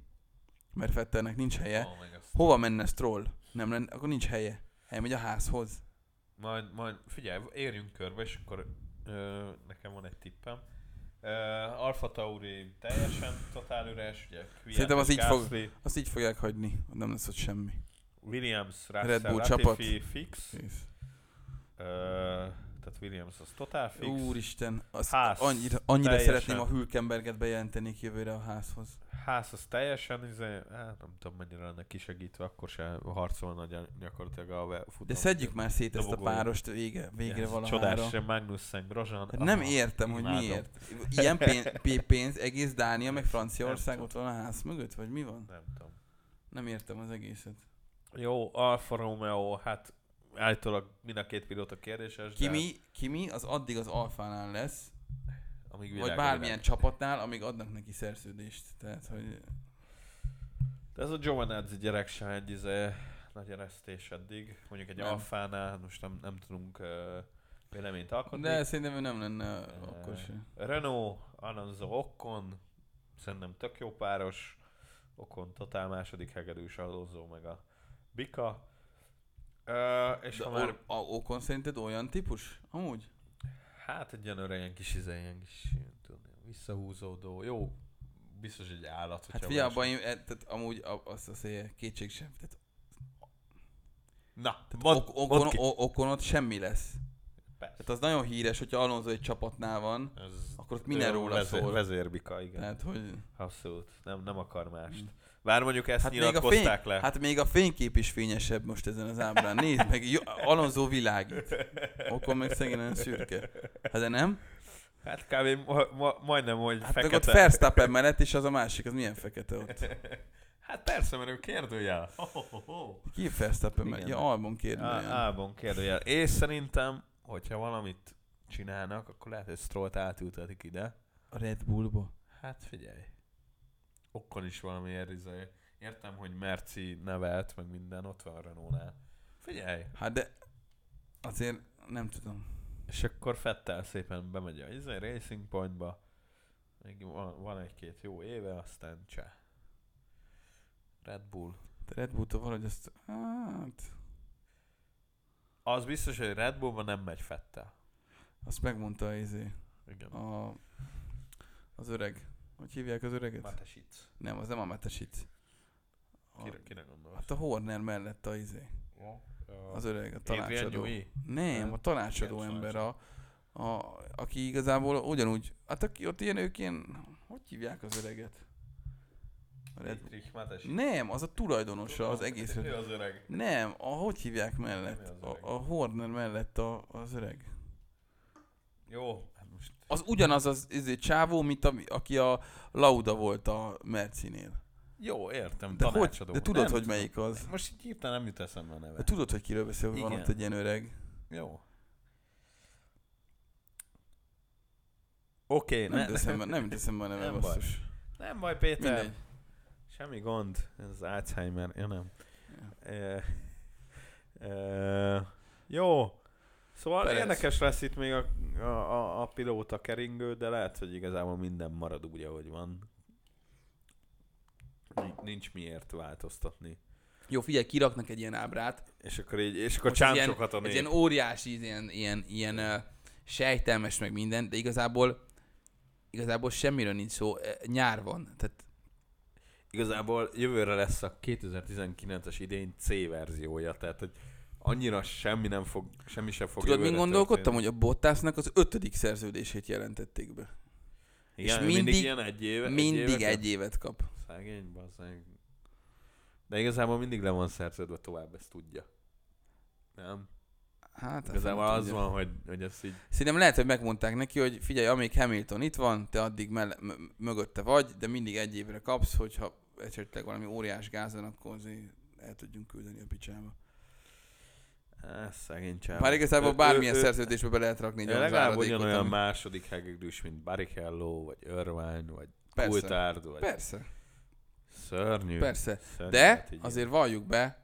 Mert Fettelnek nincs helye. Oh, meg azt. Hova menne Stroll? Nem lenne, akkor nincs helye. Elmegy a házhoz. Majd, majd figyelj, érjünk körbe, és akkor ö, nekem van egy tippem. Ö, Alfa Tauri teljesen totál üres, ugye Kvyat Szerintem az és így fog- Gasly, Azt így fogják hagyni, nem lesz ott semmi. Williams, Russell, Red Red Bull Bull csapat. Latifi fix. Kész. Ö, tehát Williams az totál fix. Úristen, azt Ház. annyira, annyira Teljesen. szeretném a Hülkenberget bejelenteni jövőre a házhoz. ház az teljesen, izé, hát nem tudom mennyire lenne kisegítve, akkor se harcolna gyak- gyakorlatilag a ve- futam. De szedjük már szét ezt a Dobogolja. párost vége, végre Ez valahára. Csodás, se Magnussen, Grosjean. Hát nem aha, értem, hogy imádom. miért. Ilyen pénz, pénz egész Dánia, meg Franciaország Nem ott van a ház mögött, vagy mi van? Nem tudom. Nem értem az egészet. Jó, Alfa Romeo, hát állítólag mind a két pilóta kérdéses, de Kimi, Kimi az addig az alfánál lesz, hát amíg világ, vagy a bármilyen világ. csapatnál, amíg adnak neki szerződést. Tehát, hogy De ez a Giovinazzi gyerek se egy izé, nagy eresztés eddig. Mondjuk egy Nem. Alfánál, most nem, nem tudunk ö, véleményt alkotni. de szerintem ő nem lenne Eh, akkor se. Renault, Alonso, Okkon, szerintem tök jó páros. Okkon totál második hegedűs Alonso meg a Bika. Ö, és És ha már, a Okon szerinted olyan típus? Amúgy? hát egy ilyen öreg, ilyen kis izé, ilyen kis ilyen, tudom, ilyen visszahúzódó, jó, biztos egy állat. Hát hogyha figyelj, van abban én, e, tehát amúgy a- azt azért kétség sem. Tehát Na, Tehát mondd, ok, okon, mondd Hát ki. o, okon ott semmi lesz. Persze. Hát az nagyon híres, hogyha Alonso egy csapatnál van, Ez akkor ott minden ő róla vezér, szól. Vezérbika, igen. tehát hogy... Abszolút. Nem, nem akar mást. Bár mondjuk ezt hát Hát még, a fény, nyilatkozták le. hát még a fénykép is fényesebb most ezen az ábrán. Nézd meg, jó, Alonso világít. Okon meg szegény olyan szürke. Hát de nem? Hát kb. Ma, ma, majdnem, hogy Hát meg fekete. ott Verstappen mellett, és az a másik, az milyen fekete ott? Hát persze, mert ő kérdőjel. Ho-ho-ho. Ki Verstappen mellett? Igen. Ja, Albon Á- kérdője. Albon kérdőjel. És szerintem, hogyha valamit csinálnak, akkor lehet, hogy Strollt átültetik ide. A Red Bullba. Hát figyelj. Okkon is valamiért izé. Értem, hogy Merci nevelt, meg minden, ott van a Renault-nál. Figyelj. Hát de azért nem tudom. És akkor Fettel szépen bemegy a izé, Racing Pointba. Még van, van egy-két jó éve, aztán cseh. Red Bull. De Red Bulltól valahogy azt... Hát... Az biztos, hogy Red Bullban nem megy Fettel. Azt megmondta az izé. Igen. A, az öreg. Hogy hívják az öreget? Matesic. Nem, az nem a Metesit. A, Kire, kire gondolsz? hát a Horner mellett a izé. Az öreg, a tanácsadó. Newey? Nem, a tanácsadó Igen, ember, a, a, aki igazából ugyanúgy, hát aki ott ilyen, ők ilyen, hogy hívják az öreget? A Red Bull. Dietrich Matesic. Nem, az a tulajdonosa hát az egész. Ő az öreg. Nem, a hogy hívják mellett? Mi az A, öreg? a Horner mellett a, az öreg. Jó. hát Most Az ugyanaz az izé, csávó, mint a, aki a Lauda volt a Mercinél. jó, értem. De, hogy, tanácsadó. de tudod, Nem hogy tudom. melyik az? Most így hirtelen nem jut eszembe a neve. De tudod, hogy kiről beszél, hogy van Igen. ott egy ilyen öreg. Jó. Oké, Nem ne- teszem, be- nem teszem be a neve, Nem baj. basszus. nem baj, Péter. Mindegy. Semmi gond. Ez az Alzheimer. Ja, nem. E, e, jó. Szóval Perez. Perez. érdekes lesz itt még a, a, a, a pilóta keringő, de lehet, hogy igazából minden marad úgy, ahogy van. Ni- Nincs miért változtatni. Jó, figyelj, kiraknak egy ilyen ábrát, És akkor így, és akkor Most ez csámcsokat a Ez nép. ilyen óriási, ilyen, ilyen, ilyen ö, sejtelmes meg minden, de igazából igazából semmiről nincs szó. Ö, Nyár van, tehát Igazából jövőre lesz a 2019-es idény C verziója, tehát hogy annyira semmi nem fog, semmi sem fog tudod, jövőre mint gondolkodtam, történni. hogy a Bottasnak az ötödik szerződését jelentették be. Igen, és ő mindig, mindig- ilyen egy éve, Mindig egy, évet kap. egy évet kap. Szegény, bazzeg. De igazából mindig le van szerződve tovább, ezt tudja. Nem? Hát, igazából azt nem az tudja. van, hogy, hogy ezt így... Szerintem lehet, hogy megmondták neki, hogy figyelj, amíg Hamilton itt van, te addig mell- m- mögötte vagy, de mindig egy évre kapsz, hogyha esetleg valami óriás gázon, akkor azért el tudjunk küldeni a picsába. Á, szegény csáv. Bár igazából Ő- ő- bármilyen ő- szerződésbe be lehet rakni egy ő olyan Legalább záradékot, ugyanolyan ami- második hegedűs, mint Barrichello, vagy Irvine, vagy Persze, Coulthard, vagy persze. szörnyű. Persze, szörnyű de hát így- azért valljuk be,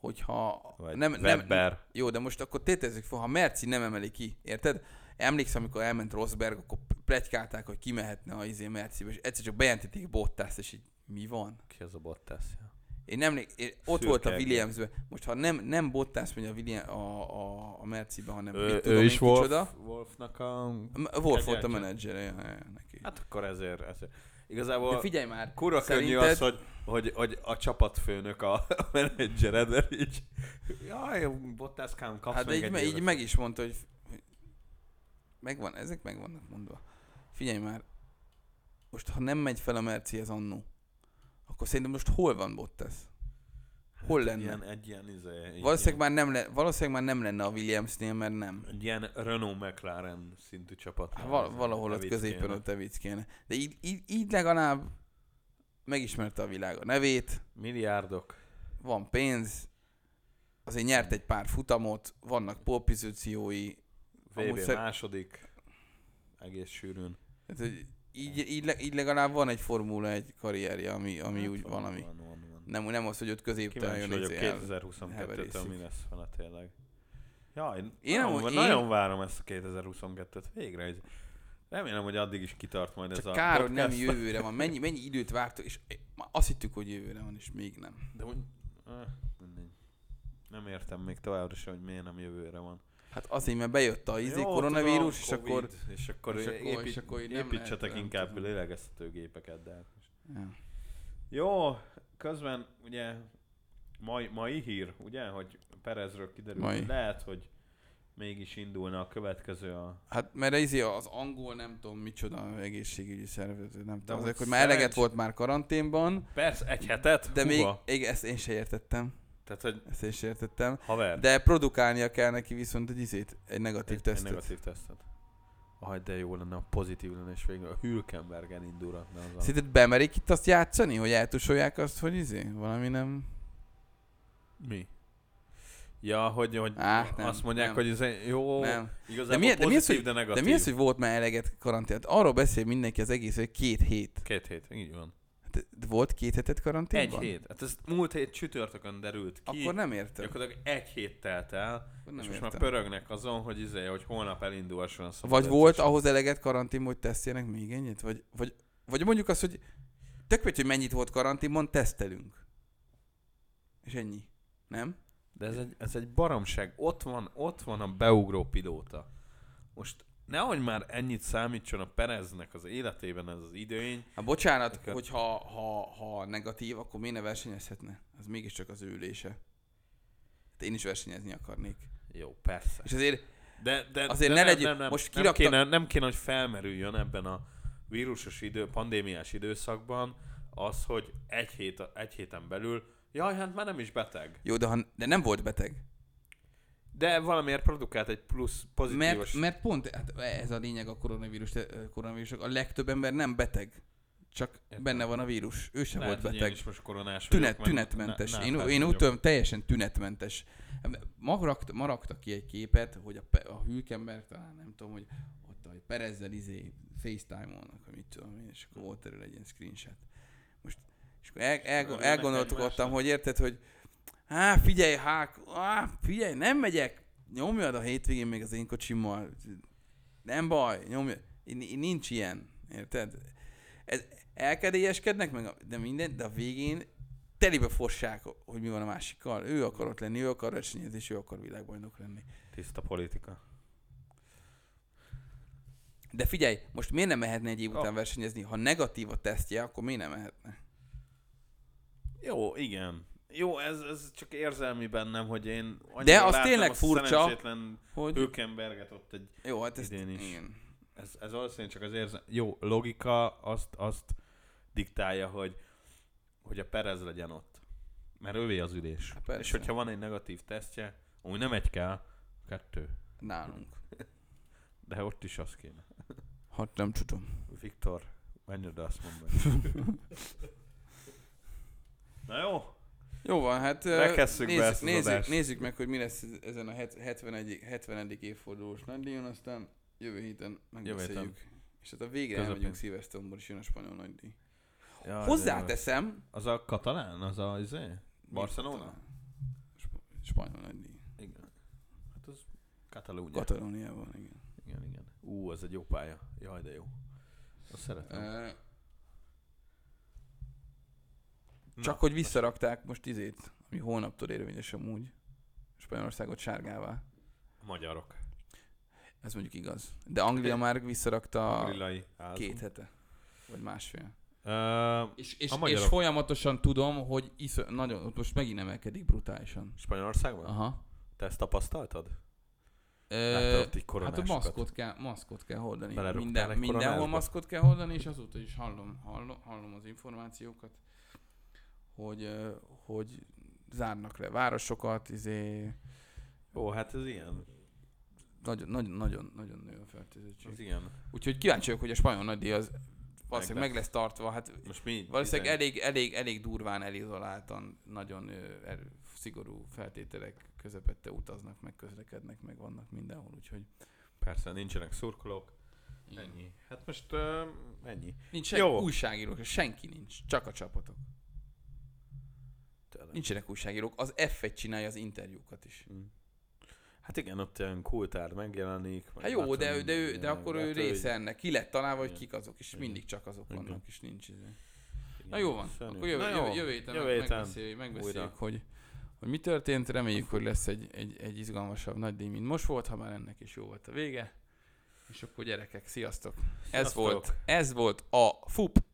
hogyha Vagy nem, nem, Webber. jó, de most akkor tétezzük fel, ha Merci nem emeli ki, érted? Emlékszem, amikor elment Rosberg, akkor pletykálták, hogy ki mehetne a izé Mercibe, és egyszer csak bejelentették Bottaszt, és így mi van? Ki az a Bottas? Ja. Én nem, lé- én ott Szürke volt a egér. Williamsbe. Most ha nem, nem Bottas megy a, William, a, a, a Mercibe, hanem Ő, mit tudom ő én, is Wolf, kicsoda. Wolfnak a... M- Wolf volt a Kegyeltje. menedzsere ja, ja, neki. Hát akkor ezért, De ezért. Igazából figyelj már, Kura könnyű az, hogy, hogy, hogy a csapatfőnök a, a menedzsered, de így... Jaj, bottászkám, kapsz Hát meg de így, egy me, így évet. meg is mondta, hogy hogy megvan, ezek meg vannak mondva. Figyelj már, most ha nem megy fel a Merci ez annó, akkor szerintem most hol van Bottas? hol Hát lenne? Ilyen, egy ilyen, izé, Valószínűleg már, nem le, valószínűleg már nem lenne a Williamsnél, mert nem. Egy ilyen Renault McLaren szintű csapat. Hát val- valahol ott középen ott Evic kéne. De így, így, így legalább megismerte a világ a nevét, Milliárdok. van pénz, azért nyert egy pár futamot, vannak polpizíciói, Amúgy VB szer- második. Egész sűrűn. Hát, hogy így, így, le- így legalább van egy Formula egy karrierje, ami, ami Hát úgy van, valami. Van, van, van. Nem, nem az, hogy ott középtelen Kíváncsi jön vagyok izé el. 2022-től heverészik. mi lesz vele tényleg. Jaj, Én én nagyon, amúgy- nagyon én- várom ezt a 2022-t végre. Egy... Remélem, hogy addig is kitart majd ez Csak a kár, hogy podcast. nem jövőre van. Mennyi, mennyi időt vártuk, és már azt hittük, hogy jövőre van, és még nem. De úgy... Ah, mindegy. Nem értem még továbbra sem, hogy miért nem jövőre van. Hát azért, mert bejött a izé, Jó, koronavírus, és tudom, akkor... Covid, és akkor, és és akkor- épít, és akkor így nem építsetek lehet, inkább nem tudom. lélegeztetőgépeket, de hát most- Ja. Jó, közben ugye mai, mai hír, ugye, hogy Perezről kiderül, Mai. hogy lehet, hogy mégis indulna a következő a... Hát mert az, az angol nem tudom micsoda egészségügyi szervezet, nem tudom, amúgy azért, hogy már eleget szerencs- volt már karanténban, Persze, egy hetet? de még, Húha. még ezt én se értettem, Tehát, hogy ezt én se értettem. haver, De produkálnia kell neki viszont egy izét, egy negatív egy, egy, egy tesztet. negatív tesztet. Ahogy de jó lenne, a pozitív lenne, és végül a Hülkenbergen indulhatna az a... Szerinted bemerik itt azt játszani, hogy eltusolják azt, hogy izé, valami nem... Mi? Ja, hogy, hogy Á, hát nem, azt mondják, nem. hogy ez jó, Nem. igazából mi- de mi az, pozitív, hogy- de De negatív. mi az, hogy volt már eleget karantén? Hát Arról beszél mindenki az egész, hogy két hét. Két hét, így van. Hát, de volt két hetet karanténban? Egy hét. Hát ez múlt hét csütörtökön derült ki. Akkor nem értem. Gyakorlatilag egy hét telt el, Akkor és nem most értem. már pörögnek azon, hogy izé, hogy holnap elindulhasson a szabad Vagy volt edzés. ahhoz eleget karantén, hogy tesztjenek még ennyit? Vagy, vagy, vagy mondjuk azt, hogy tök mindegy, hogy mennyit volt karanténban, tesztelünk. És ennyi. Nem? De ez egy, ez egy baromság. Ott van, ott van a beugró pilóta. Most nehogy már ennyit számítson a Pereznek az életében ez az időny. Hát bocsánat, Oké. hogyha ha, ha negatív, akkor miért ne versenyezhetne? Az mégiscsak az ő ülése. Hát én is versenyezni akarnék. Jó, persze. És azért De, de, Azért de ne nem, legyünk- nem, nem, most nem, kirakta- kéne, nem kéne, hogy felmerüljön ebben a vírusos idő, pandémiás időszakban az, hogy egy, hét, egy héten belül, jaj, hát már nem is beteg. jó, de, ha, de nem volt beteg. De valamiért produkált egy plusz pozitívos... Mert, mert pont hát ez a lényeg a koronavírus, koronavírusok. A legtöbb ember nem beteg, csak Értem. benne van a vírus. Ő sem Lehet, volt hogy én beteg. is most koronás Tünet, vagyok, mert tünetmentes. ne- én náfás én úgy vagyok. tudom, teljesen tünetmentes. Ma rakta, ma rakta ki egy képet, hogy a, Pe- a Hülkenberg talán nem tudom, hogy ott a Perezzel izé FaceTime-olnak, hogy mit tudom én, és akkor volt erről egy ilyen screenshot. Most, és akkor el, el, Örülnek elgondolkodtam, egymásnak. hogy érted, hogy Á, figyelj, hák, á, figyelj, nem megyek. Nyomjad a hétvégén még az én kocsimmal. Nem baj, nyomjad. Í- í- Nincs ilyen, érted? Ez, elkedélyeskednek meg, a- de minden, de a végén telibe fossák, hogy mi van a másikkal. Ő akar ott lenni, ő akar versenyezni, és ő akar világbajnok lenni. Tiszta politika. De figyelj, most miért nem mehetne egy év Ah. után versenyezni? Ha negatív a tesztje, akkor miért nem mehetne? Jó, igen. Jó, ez, ez csak érzelmi bennem, hogy én annyira De az láttam tényleg azt a furcsa, szerencsétlen Hogy... Hülkenberget ott egy Jó, hát ezt Idén is. igen. Ez, ez valószínűleg csak az érzem. Jó, logika azt, azt diktálja, hogy, hogy a Perez legyen ott. Mert ővé az ülés. Hát persze. És hogyha van egy negatív tesztje, úgy nem egy kell, kettő. Nálunk. De ott is az kéne. Hát nem tudom. Viktor, menj oda, azt mondd meg. Na jó, Jó van, hát ö, Rekesszük be nézzük, ezt az nézzük, adást. nézzük meg, hogy mi lesz ez- ezen a het- 71. 70. évfordulós nagydíjon, aztán jövő héten megbeszéljük. És hát a végre Közepén. elmegyünk Szilvesztomból, és jön a spanyol nagydíj. Ja, de- Hozzáteszem... Az a katalán, az a izé? Barcelona? Sp- Spanyol nagydíj. Igen. Hát az Katalónia. Katalóniában, igen. igen, igen. Ú, ez egy jó pálya. Jaj, de jó. Azt szeretem. Ö, Na. Csak hogy visszarakták most izét, ami holnaptól érvényes amúgy. Spanyolországot sárgává. Magyarok. Ez mondjuk igaz. De Anglia már visszarakta Lilai két hete. Vagy másfél. Uh, És, és, A és magyarok. folyamatosan tudom, hogy iszö, nagyon, ott most megint emelkedik brutálisan. Spanyolországban? Aha. Aha. Te ezt tapasztaltad? Ö, Láttad ott így hát a koronásokat? maszkot kell, maszkot kell hordani. Belerúgtál Minden, egy mindenhol koronásba? maszkot kell hordani, és azóta is hallom, hallom, hallom az információkat, hogy, ö, hogy zárnak le városokat, izé, Ó, hát ez ilyen. nagyon, nagyon, nagyon, nagyon nő a Ez fertőzöttség. ilyen. Úgyhogy kíváncsi vagyok, hogy a spanyol nagydíj az valószínűleg lesz. meg lesz tartva, hát Most mi? Valószínűleg tizen- elég, elég, elég durván elizoláltan, nagyon ö, er, szigorú feltételek közepette utaznak, meg közlekednek, meg vannak mindenhol, úgyhogy Persze, nincsenek szurkolók. Ennyi. Hát most uh, ennyi. Nincs senki, Jó. újságírók, senki nincs, csak a csapatok. Tényleg. Nincsenek újságírók, az F1 csinálja az interjúkat is. Mm. Hát igen, ott ilyen kultár megjelenik. meg Hát jó, Latin de, ő- de, ő, de megjelenik, akkor ő hát része ennek. Ki lett találva, hogy Igen. kik azok, és Igen. mindig csak azok Igen. vannak, és nincs. izé. igen. Na jó van, Szörnyű. akkor jövő, Na jövő, jó, jövő héten, jövő meg- héten megbeszéljük, megbeszéljük újra. hogy, hogy mi történt. Reméljük, hogy lesz egy, egy, egy izgalmasabb nagy díj, mint most volt, ha már ennek is jó volt a vége. És akkor gyerekek, sziasztok! Ez Sziasztok. volt, ez volt a FUP